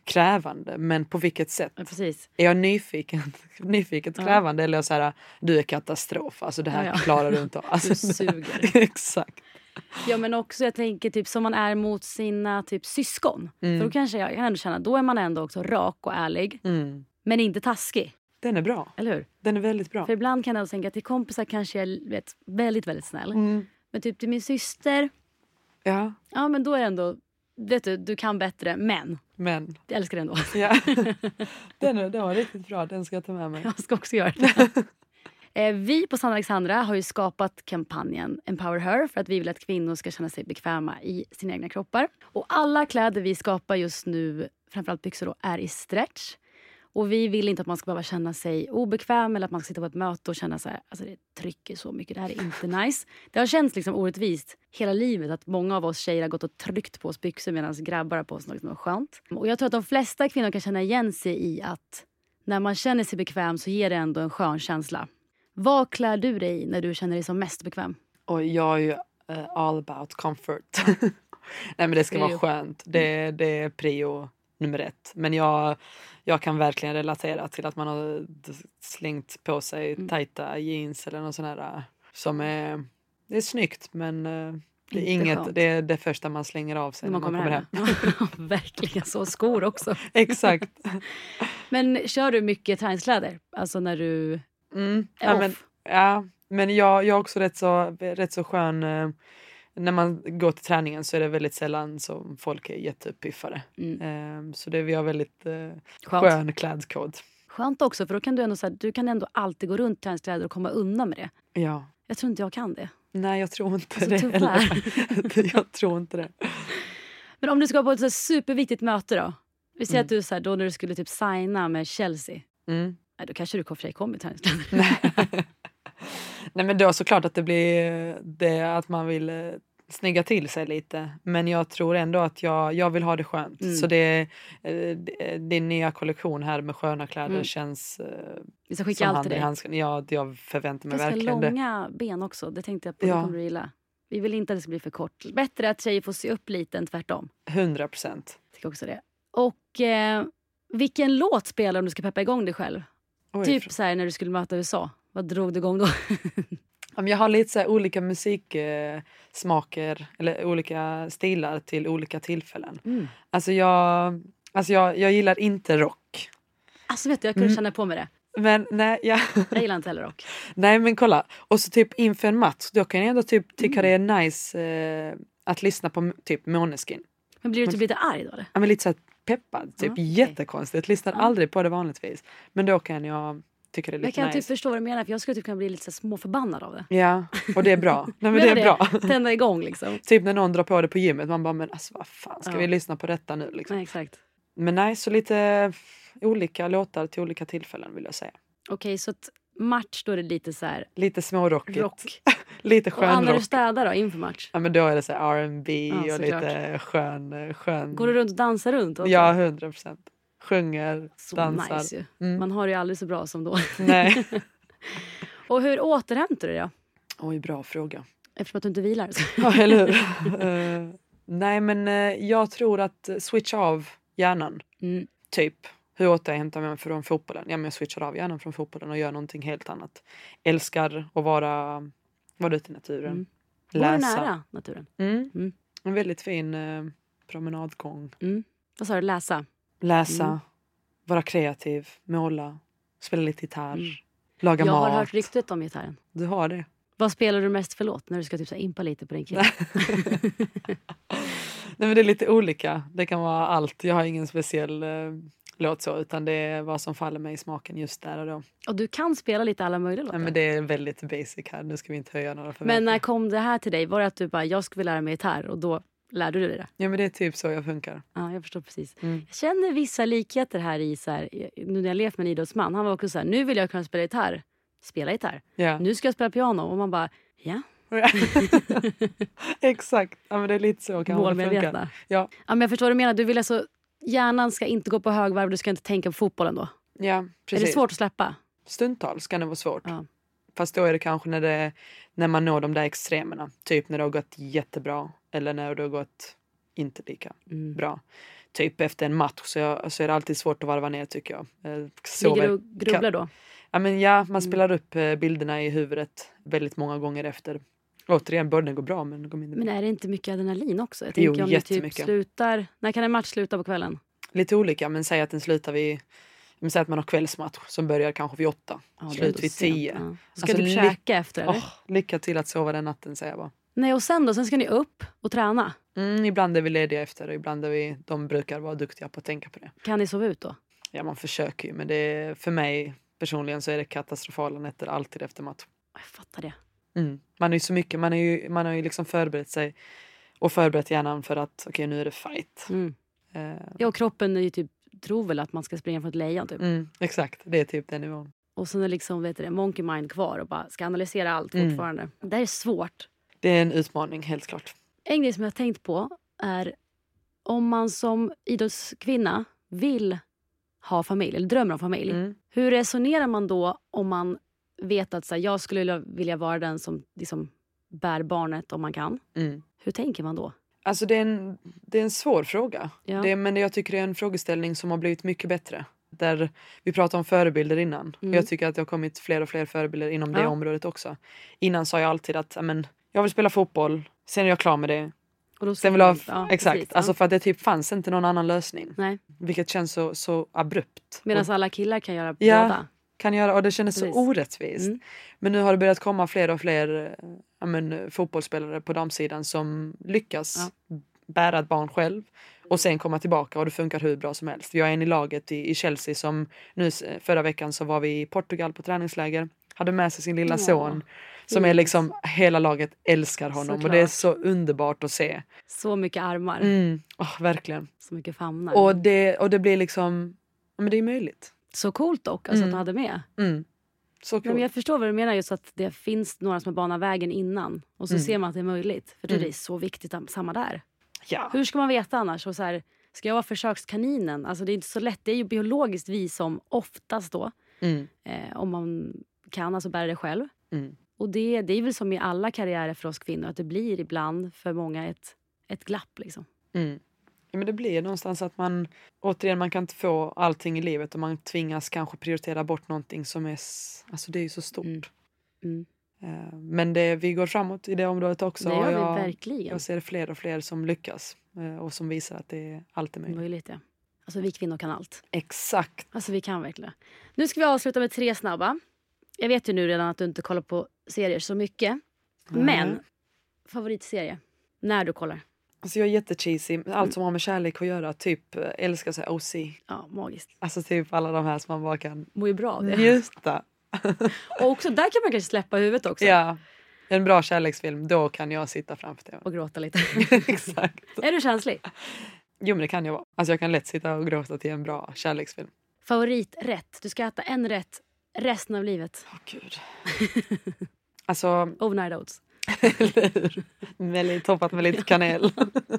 S1: krävande. Men på vilket sätt?
S2: Ja, precis.
S1: Är jag nyfiken, nyfiket
S2: Ja.
S1: krävande eller är jag så här, du är katastrof, alltså det här
S2: Ja, ja.
S1: klarar du inte av. Alltså,
S2: Du suger.
S1: Exakt.
S2: Ja men också jag tänker typ som man är mot sina typ syskon.
S1: Mm.
S2: För då kanske jag, jag kan ändå känna då är man ändå också rak och ärlig.
S1: Mm.
S2: Men inte taskig.
S1: Den är bra.
S2: Eller hur?
S1: Den är väldigt bra.
S2: För ibland kan jag också tänka att till kompisar kanske jag är vet, väldigt väldigt snäll.
S1: Mm.
S2: Men typ till min syster,
S1: Ja,
S2: ja men då är det ändå, vet du, du kan bättre men
S1: men.
S2: jag älskar det ändå.
S1: Ja. Den, är, den var riktigt bra, den ska jag ta med mig.
S2: Jag ska också göra det. Eh, Vi på Sanna Alexandra har ju skapat kampanjen Empower Her för att vi vill att kvinnor ska känna sig bekväma i sina egna kroppar. Och alla kläder vi skapar just nu, framförallt byxor då, är i stretch. Och vi vill inte att man ska behöva känna sig obekväm eller att man ska sitta på ett möte och känna så här, alltså det trycker så mycket, det här är inte nice. Det har känts liksom orättvist hela livet att många av oss tjejer har gått och tryckt på oss byxor medan grabbar har på sig något som är skönt. Och jag tror att de flesta kvinnor kan känna igen sig i att när man känner sig bekväm så ger det ändå en skön känsla. Vad klär du dig i när du känner dig som mest bekväm?
S1: Och jag är ju eh, all about comfort. Nej men det ska vara
S2: Prio.
S1: skönt. Det, det är prio nummer ett. Men jag, jag kan verkligen relatera till att man har d- slängt på sig
S2: Mm.
S1: tajta jeans eller något sånt här eh, som är, det är snyggt men eh, det är
S2: Inte
S1: inget,
S2: skönt.
S1: det är det första man slänger av sig när man kommer, hem.
S2: Ja, Verkligen så. Skor också.
S1: Exakt.
S2: Men kör du mycket träningskläder? Alltså när du
S1: Mm.
S2: är
S1: Ja,
S2: off?
S1: men, Ja, men jag, jag är också rätt så, rätt så skön. eh, När man går till träningen så är det väldigt sällan som folk är jättepiffade.
S2: Mm.
S1: Eh, Så det, vi har väldigt eh,
S2: Skönt.
S1: skön klädkod.
S2: Skönt också, för då kan du ändå, så här, du kan ändå alltid gå runt i träningskläder och komma undan med det.
S1: Ja.
S2: Jag tror inte jag kan det.
S1: Nej, jag tror inte
S2: Alltså,
S1: det
S2: tyvärr.
S1: heller. jag tror inte det.
S2: Men om du ska på ett så här superviktigt möte då? Vi säger att du så här, då när du skulle typ signa med Chelsea.
S1: Mm.
S2: Nej, då kanske du i och för sig kom i träningskläder.
S1: Nej. Nej, men då såklart att det blir eh, det att man vill eh, snygga till sig lite. Men jag tror ändå att jag, jag vill ha det skönt.
S2: Mm.
S1: Så det, eh, det- din nya kollektion här med sköna kläder
S2: Mm.
S1: känns eh,
S2: Vi ska skicka
S1: som
S2: allt
S1: handen
S2: till
S1: i
S2: dig.
S1: handsken. Ja, jag förväntar mig
S2: Ganska
S1: verkligen det.
S2: långa ben också. Det tänkte jag på.
S1: Ja.
S2: Det kommer du gilla. Vi vill inte att det ska bli för kort. Bättre att tjejer får se upp lite än tvärtom.
S1: 100 procent.
S2: Jag Tycker också det. Och eh, vilken låt spelar om du ska peppa igång dig själv? typ så här när du skulle möta USA. Vad drog du igång då?
S1: Ja, men Jag har lite så här olika musiksmaker eller olika stilar till olika tillfällen.
S2: Mm.
S1: Alltså jag, alltså jag, jag gillar inte rock.
S2: Alltså vet du, jag kunde
S1: Mm.
S2: känna på mig det.
S1: Men nej, ja.
S2: Jag gillar inte heller rock.
S1: nej men kolla. Och så typ inför en match då kan jag ändå typ tycka det
S2: Mm.
S1: är nice eh, att lyssna på m- typ Måneskin.
S2: Men blir du typ lite arg då eller?
S1: Ja, men lite så här peppad. Typ
S2: Ja, Ah, okej.
S1: jättekonstigt. Lyssnar
S2: Ja.
S1: aldrig på det vanligtvis. Men då kan jag tycka det är
S2: Jag
S1: lite
S2: kan
S1: nice.
S2: typ förstå vad du menar för jag skulle typ kunna bli lite så här småförbannad av det.
S1: Ja, och det är bra. Nej men det
S2: Menar
S1: är bra.
S2: Tända igång liksom.
S1: Typ när någon drar på det på gymmet. Man bara men alltså vad fan ska
S2: Ja.
S1: vi lyssna på detta nu liksom.
S2: Nej, exakt.
S1: Men nej, så lite olika låtar till olika tillfällen vill jag säga.
S2: Okej, så att match då är det lite så här
S1: Lite smårockigt.
S2: rock.
S1: Lite
S2: Och Anna,
S1: skönrock.
S2: du städar då inför match?
S1: Ja, men då är det så här R&B
S2: Ja,
S1: och
S2: såklart.
S1: lite skön... skön...
S2: Går du runt och dansar runt? också?
S1: Ja, 100 procent. Sjunger,
S2: så
S1: dansar.
S2: nice ju.
S1: Mm.
S2: Man har det ju aldrig så bra som då.
S1: Nej.
S2: Och hur återhämtar du dig då?
S1: Oj, bra fråga.
S2: Eftersom att du inte vilar.
S1: Ja, eller hur? Eh, nej, men eh, jag tror att eh, switcha av hjärnan.
S2: Mm.
S1: Typ, hur återhämtar jag mig från fotbollen? Ja, men jag switchar av hjärnan från fotbollen och gör någonting helt annat. Älskar att vara, vara ute i naturen.
S2: Mm. Bor du
S1: Läsa.
S2: nära naturen?
S1: Mm.
S2: Mm.
S1: En väldigt fin eh, promenadgång.
S2: Vad sa du? Läsa?
S1: Läsa,
S2: Mm.
S1: vara kreativ, måla, spela lite gitarr, laga
S2: Mm. Jag
S1: mat.
S2: har hört ryktet om gitarren.
S1: Du har det?
S2: Vad spelar du mest för låt när du ska typ så här impa lite på din kille?
S1: Nej, men det är lite olika. Det kan vara allt. Jag har ingen speciell eh, låt så utan det är vad som faller mig i smaken just där och då.
S2: Och du kan spela lite alla möjliga låtar.
S1: Nej, men det är väldigt basic här. Nu ska vi inte höja några förväntningar.
S2: Men när kom det här till dig? Var det att du bara, jag skulle vilja lära mig gitarr och då lärde du dig det?
S1: Ja, men det är typ så jag funkar.
S2: Ja, jag förstår precis.
S1: Mm.
S2: Jag känner vissa likheter här i, så här, nu när jag levt med en idrottsman. Han var också så här, nu vill jag kunna spela gitarr. Spela gitarr.
S1: Ja.
S2: Nu ska jag spela piano. Och man bara, ja,
S1: Exakt. Ja, men det är lite så kanske det funkar.
S2: målmedvetna.
S1: Ja.
S2: men jag förstår vad du menar. Du vill alltså, hjärnan ska inte gå på högvarv, du ska inte tänka på fotbollen då.
S1: Ja, precis.
S2: Är det svårt att släppa?
S1: Stundtals kan det vara svårt.
S2: Ja.
S1: Fast då är det kanske när, det, när man når de där extremerna. Typ när det har gått jättebra eller när det har gått inte lika
S2: Mm.
S1: bra. Typ efter en match så, jag, så är det alltid svårt att varva ner tycker jag. Eh, sover-
S2: Ligger du och Mm. grubblar då?
S1: Ja, men ja, man spelar upp eh, bilderna i huvudet väldigt många gånger efter. Återigen, början går bra men det går mindre bra.
S2: Men är det inte mycket adrenalin också? Jag
S1: Jo,
S2: tänker om du typ
S1: jättemycket.
S2: slutar... När kan en match sluta på kvällen?
S1: Lite olika men säg att den slutar vid men säg att man har kvällsmatch som börjar kanske vid åtta.
S2: Ja, det är
S1: Slut
S2: ändå
S1: vid
S2: sent.
S1: tio.
S2: Ja. Ska
S1: Alltså,
S2: du typ
S1: li-
S2: käka efter eller?
S1: Åh, lycka till att sova den natten säger jag bara.
S2: Nej, och sen då? Sen ska ni upp och träna.
S1: Mm, ibland är vi lediga efter och ibland är vi, de brukar vara duktiga på att tänka på det.
S2: Kan ni sova ut då?
S1: Ja, man försöker ju, men det är, för mig personligen så är det katastrofala nätter alltid efter match.
S2: Jag fattar det.
S1: Mm. Man är ju så mycket, man, är ju, man har ju liksom förberett sig och förberett hjärnan för att okej, nu är det fight.
S2: Mm.
S1: Eh,
S2: Ja, och kroppen är ju typ, tror väl att man ska springa från ett lejon. Typ.
S1: mm, exakt, det är typ den nivån.
S2: Och sen är liksom, vet du det, monkey mind kvar och bara ska analysera allt
S1: Mm.
S2: fortfarande. Det här är svårt.
S1: Det är en utmaning, helt klart.
S2: En grej som jag har tänkt på är om man som idrottskvinna vill ha familj, eller drömmer om familj.
S1: Mm.
S2: Hur resonerar man då om man vet att så här, jag skulle vilja- vilja vara den som liksom, bär barnet om man kan?
S1: Mm.
S2: Hur tänker man då?
S1: Alltså det är en, det är en svår fråga.
S2: Ja.
S1: Det, men jag tycker det är en frågeställning som har blivit mycket bättre. Där vi pratade om förebilder innan.
S2: Mm.
S1: Och jag tycker att det har kommit fler och fler förebilder inom det
S2: Ja.
S1: området också. Innan sa jag alltid att amen, jag vill spela fotboll, sen är jag klar med det.
S2: Och då
S1: Sen vill jag ha,
S2: ja,
S1: exakt,
S2: precis, ja.
S1: alltså för att det typ fanns inte någon annan lösning.
S2: Nej.
S1: Vilket känns så, så abrupt.
S2: Medan
S1: Och
S2: alla killar kan göra
S1: Ja.
S2: båda.
S1: kan göra, och det kändes
S2: Precis.
S1: så orättvist.
S2: Mm.
S1: Men nu har det börjat komma fler och fler eh, ja, men, fotbollsspelare på damsidan som lyckas bära ett barn själv och sen komma tillbaka och det funkar hur bra som helst. Vi har en i laget i, i Chelsea som nu s- eh, förra veckan så var vi i Portugal på träningsläger, hade med sig sin lilla
S2: Ja,
S1: son som är
S2: fint.
S1: liksom hela laget älskar honom och det är
S2: Såklart.
S1: så underbart att se.
S2: Så mycket armar,
S1: Mm. åh, verkligen.
S2: så mycket famnar.
S1: Och det, och det blir liksom, ja, men det är möjligt.
S2: så coolt dock alltså,
S1: Mm.
S2: att du hade med.
S1: Mm. Så
S2: Nej,
S1: kul.
S2: men jag förstår vad du menar, just att det finns några som har banat vägen innan. Och så
S1: Mm.
S2: ser man att det är möjligt. För mm.
S1: Mm.
S2: det är så viktigt, am- samma där.
S1: Ja.
S2: Hur ska man veta annars? Och så här, ska jag vara försökskaninen? Alltså, det är inte så lätt. Det är ju biologiskt vi som oftast då,
S1: Mm.
S2: eh, om man kan, alltså bära det själv.
S1: Mm.
S2: Och det, det är väl som i alla karriärer för oss kvinnor, att det blir ibland för många ett, ett glapp. Liksom.
S1: Mm. Ja, men det blir någonstans att man återigen man kan inte få allting i livet och man tvingas kanske prioritera bort någonting som är s- alltså det är ju så stort.
S2: Mm. Mm.
S1: Eh, Men det, vi går framåt i det området också.
S2: Så det gör
S1: och
S2: vi
S1: jag,
S2: verkligen.
S1: jag ser fler och fler som lyckas eh, och som visar att det är allt är möjligt.
S2: Möjligt, ja. Alltså vi kvinnor kan allt.
S1: Exakt.
S2: Alltså vi kan verkligen det. Nu ska vi avsluta med tre snabba. Jag vet ju nu redan att du inte kollar på serier så mycket. Men favoritserie? När du kollar?
S1: Alltså jag är jättecheesy. Allt som har med kärlek att göra. Typ eh, älskar så här OC.
S2: Ja, magiskt.
S1: Alltså typ alla de här som man bara kan
S2: Mår ju bra av
S1: Mm.
S2: det.
S1: njuta.
S2: Och också där kan man kanske släppa huvudet också.
S1: Ja. En bra kärleksfilm, då kan jag sitta framför tvn.
S2: Och gråta lite.
S1: Exakt.
S2: är du känslig?
S1: Jo men det kan jag vara. Alltså jag kan lätt sitta och gråta till en bra kärleksfilm.
S2: Favoriträtt? Du ska äta en rätt Resten av livet.
S1: Åh gud. Alltså,
S2: Overnight oats.
S1: eller hur? Med lite, toppat med lite kanel.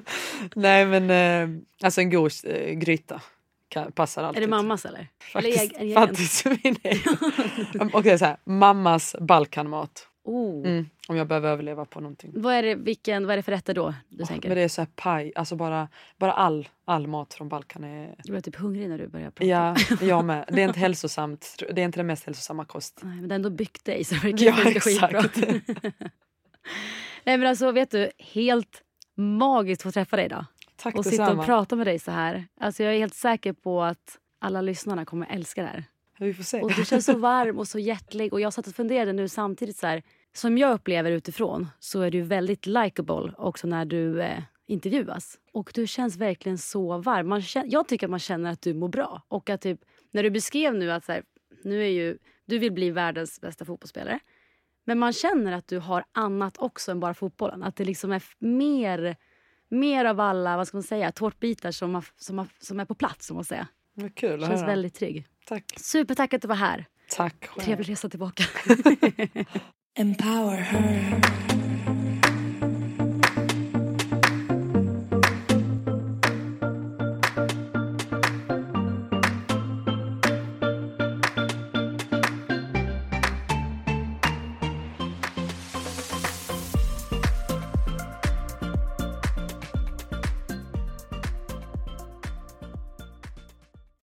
S1: Nej men eh, alltså en god eh, gryta kan, passar alltid.
S2: Är det mammas eller?
S1: Faktiskt,
S2: eller egen- egen?
S1: faktiskt min egen. Och det är så här, mammas balkanmat.
S2: Oh.
S1: Mm, om jag behöver överleva på någonting.
S2: Vad, är det, vilken, vad är det för rätter då? Du
S1: Åh,
S2: tänker?
S1: Men det är så här paj, alltså bara, bara all, all mat från Balkan är...
S2: Du blev typ hungrig när du började prata.
S1: Ja, jag med. Det är inte hälsosamt. Det är inte den mest hälsosamma kost.
S2: Nej, men det har ändå byggt dig så det verkar
S1: Ja,
S2: funka skitbra.
S1: exakt.
S2: Nej men alltså vet du, helt magiskt att få träffa dig idag.
S1: Tack
S2: Och sitta och
S1: detsamma.
S2: prata med dig så här. Alltså jag är helt säker på att alla lyssnarna kommer älska det här.
S1: Vi får se.
S2: Och du känns så varm och så hjärtlig. Och jag satt och funderade nu samtidigt så här. Som jag upplever utifrån så är du väldigt likable också när du eh, intervjuas. Och du känns verkligen så varm. Man känner, jag tycker att man känner att du mår bra. Och att typ, när du beskrev nu att så här, nu är ju, du vill bli världens bästa fotbollsspelare. Men man känner att du har annat också än bara fotbollen. Att det liksom är f- mer, mer av alla vad ska man säga, tårtbitar som, har, som, har, som är på plats. Som man säga.
S1: Vad kul att
S2: Känns
S1: höra.
S2: väldigt trygg.
S1: Tack.
S2: Supertack att du var här.
S1: Tack själv.
S2: Trevlig resa tillbaka.
S3: Empower her.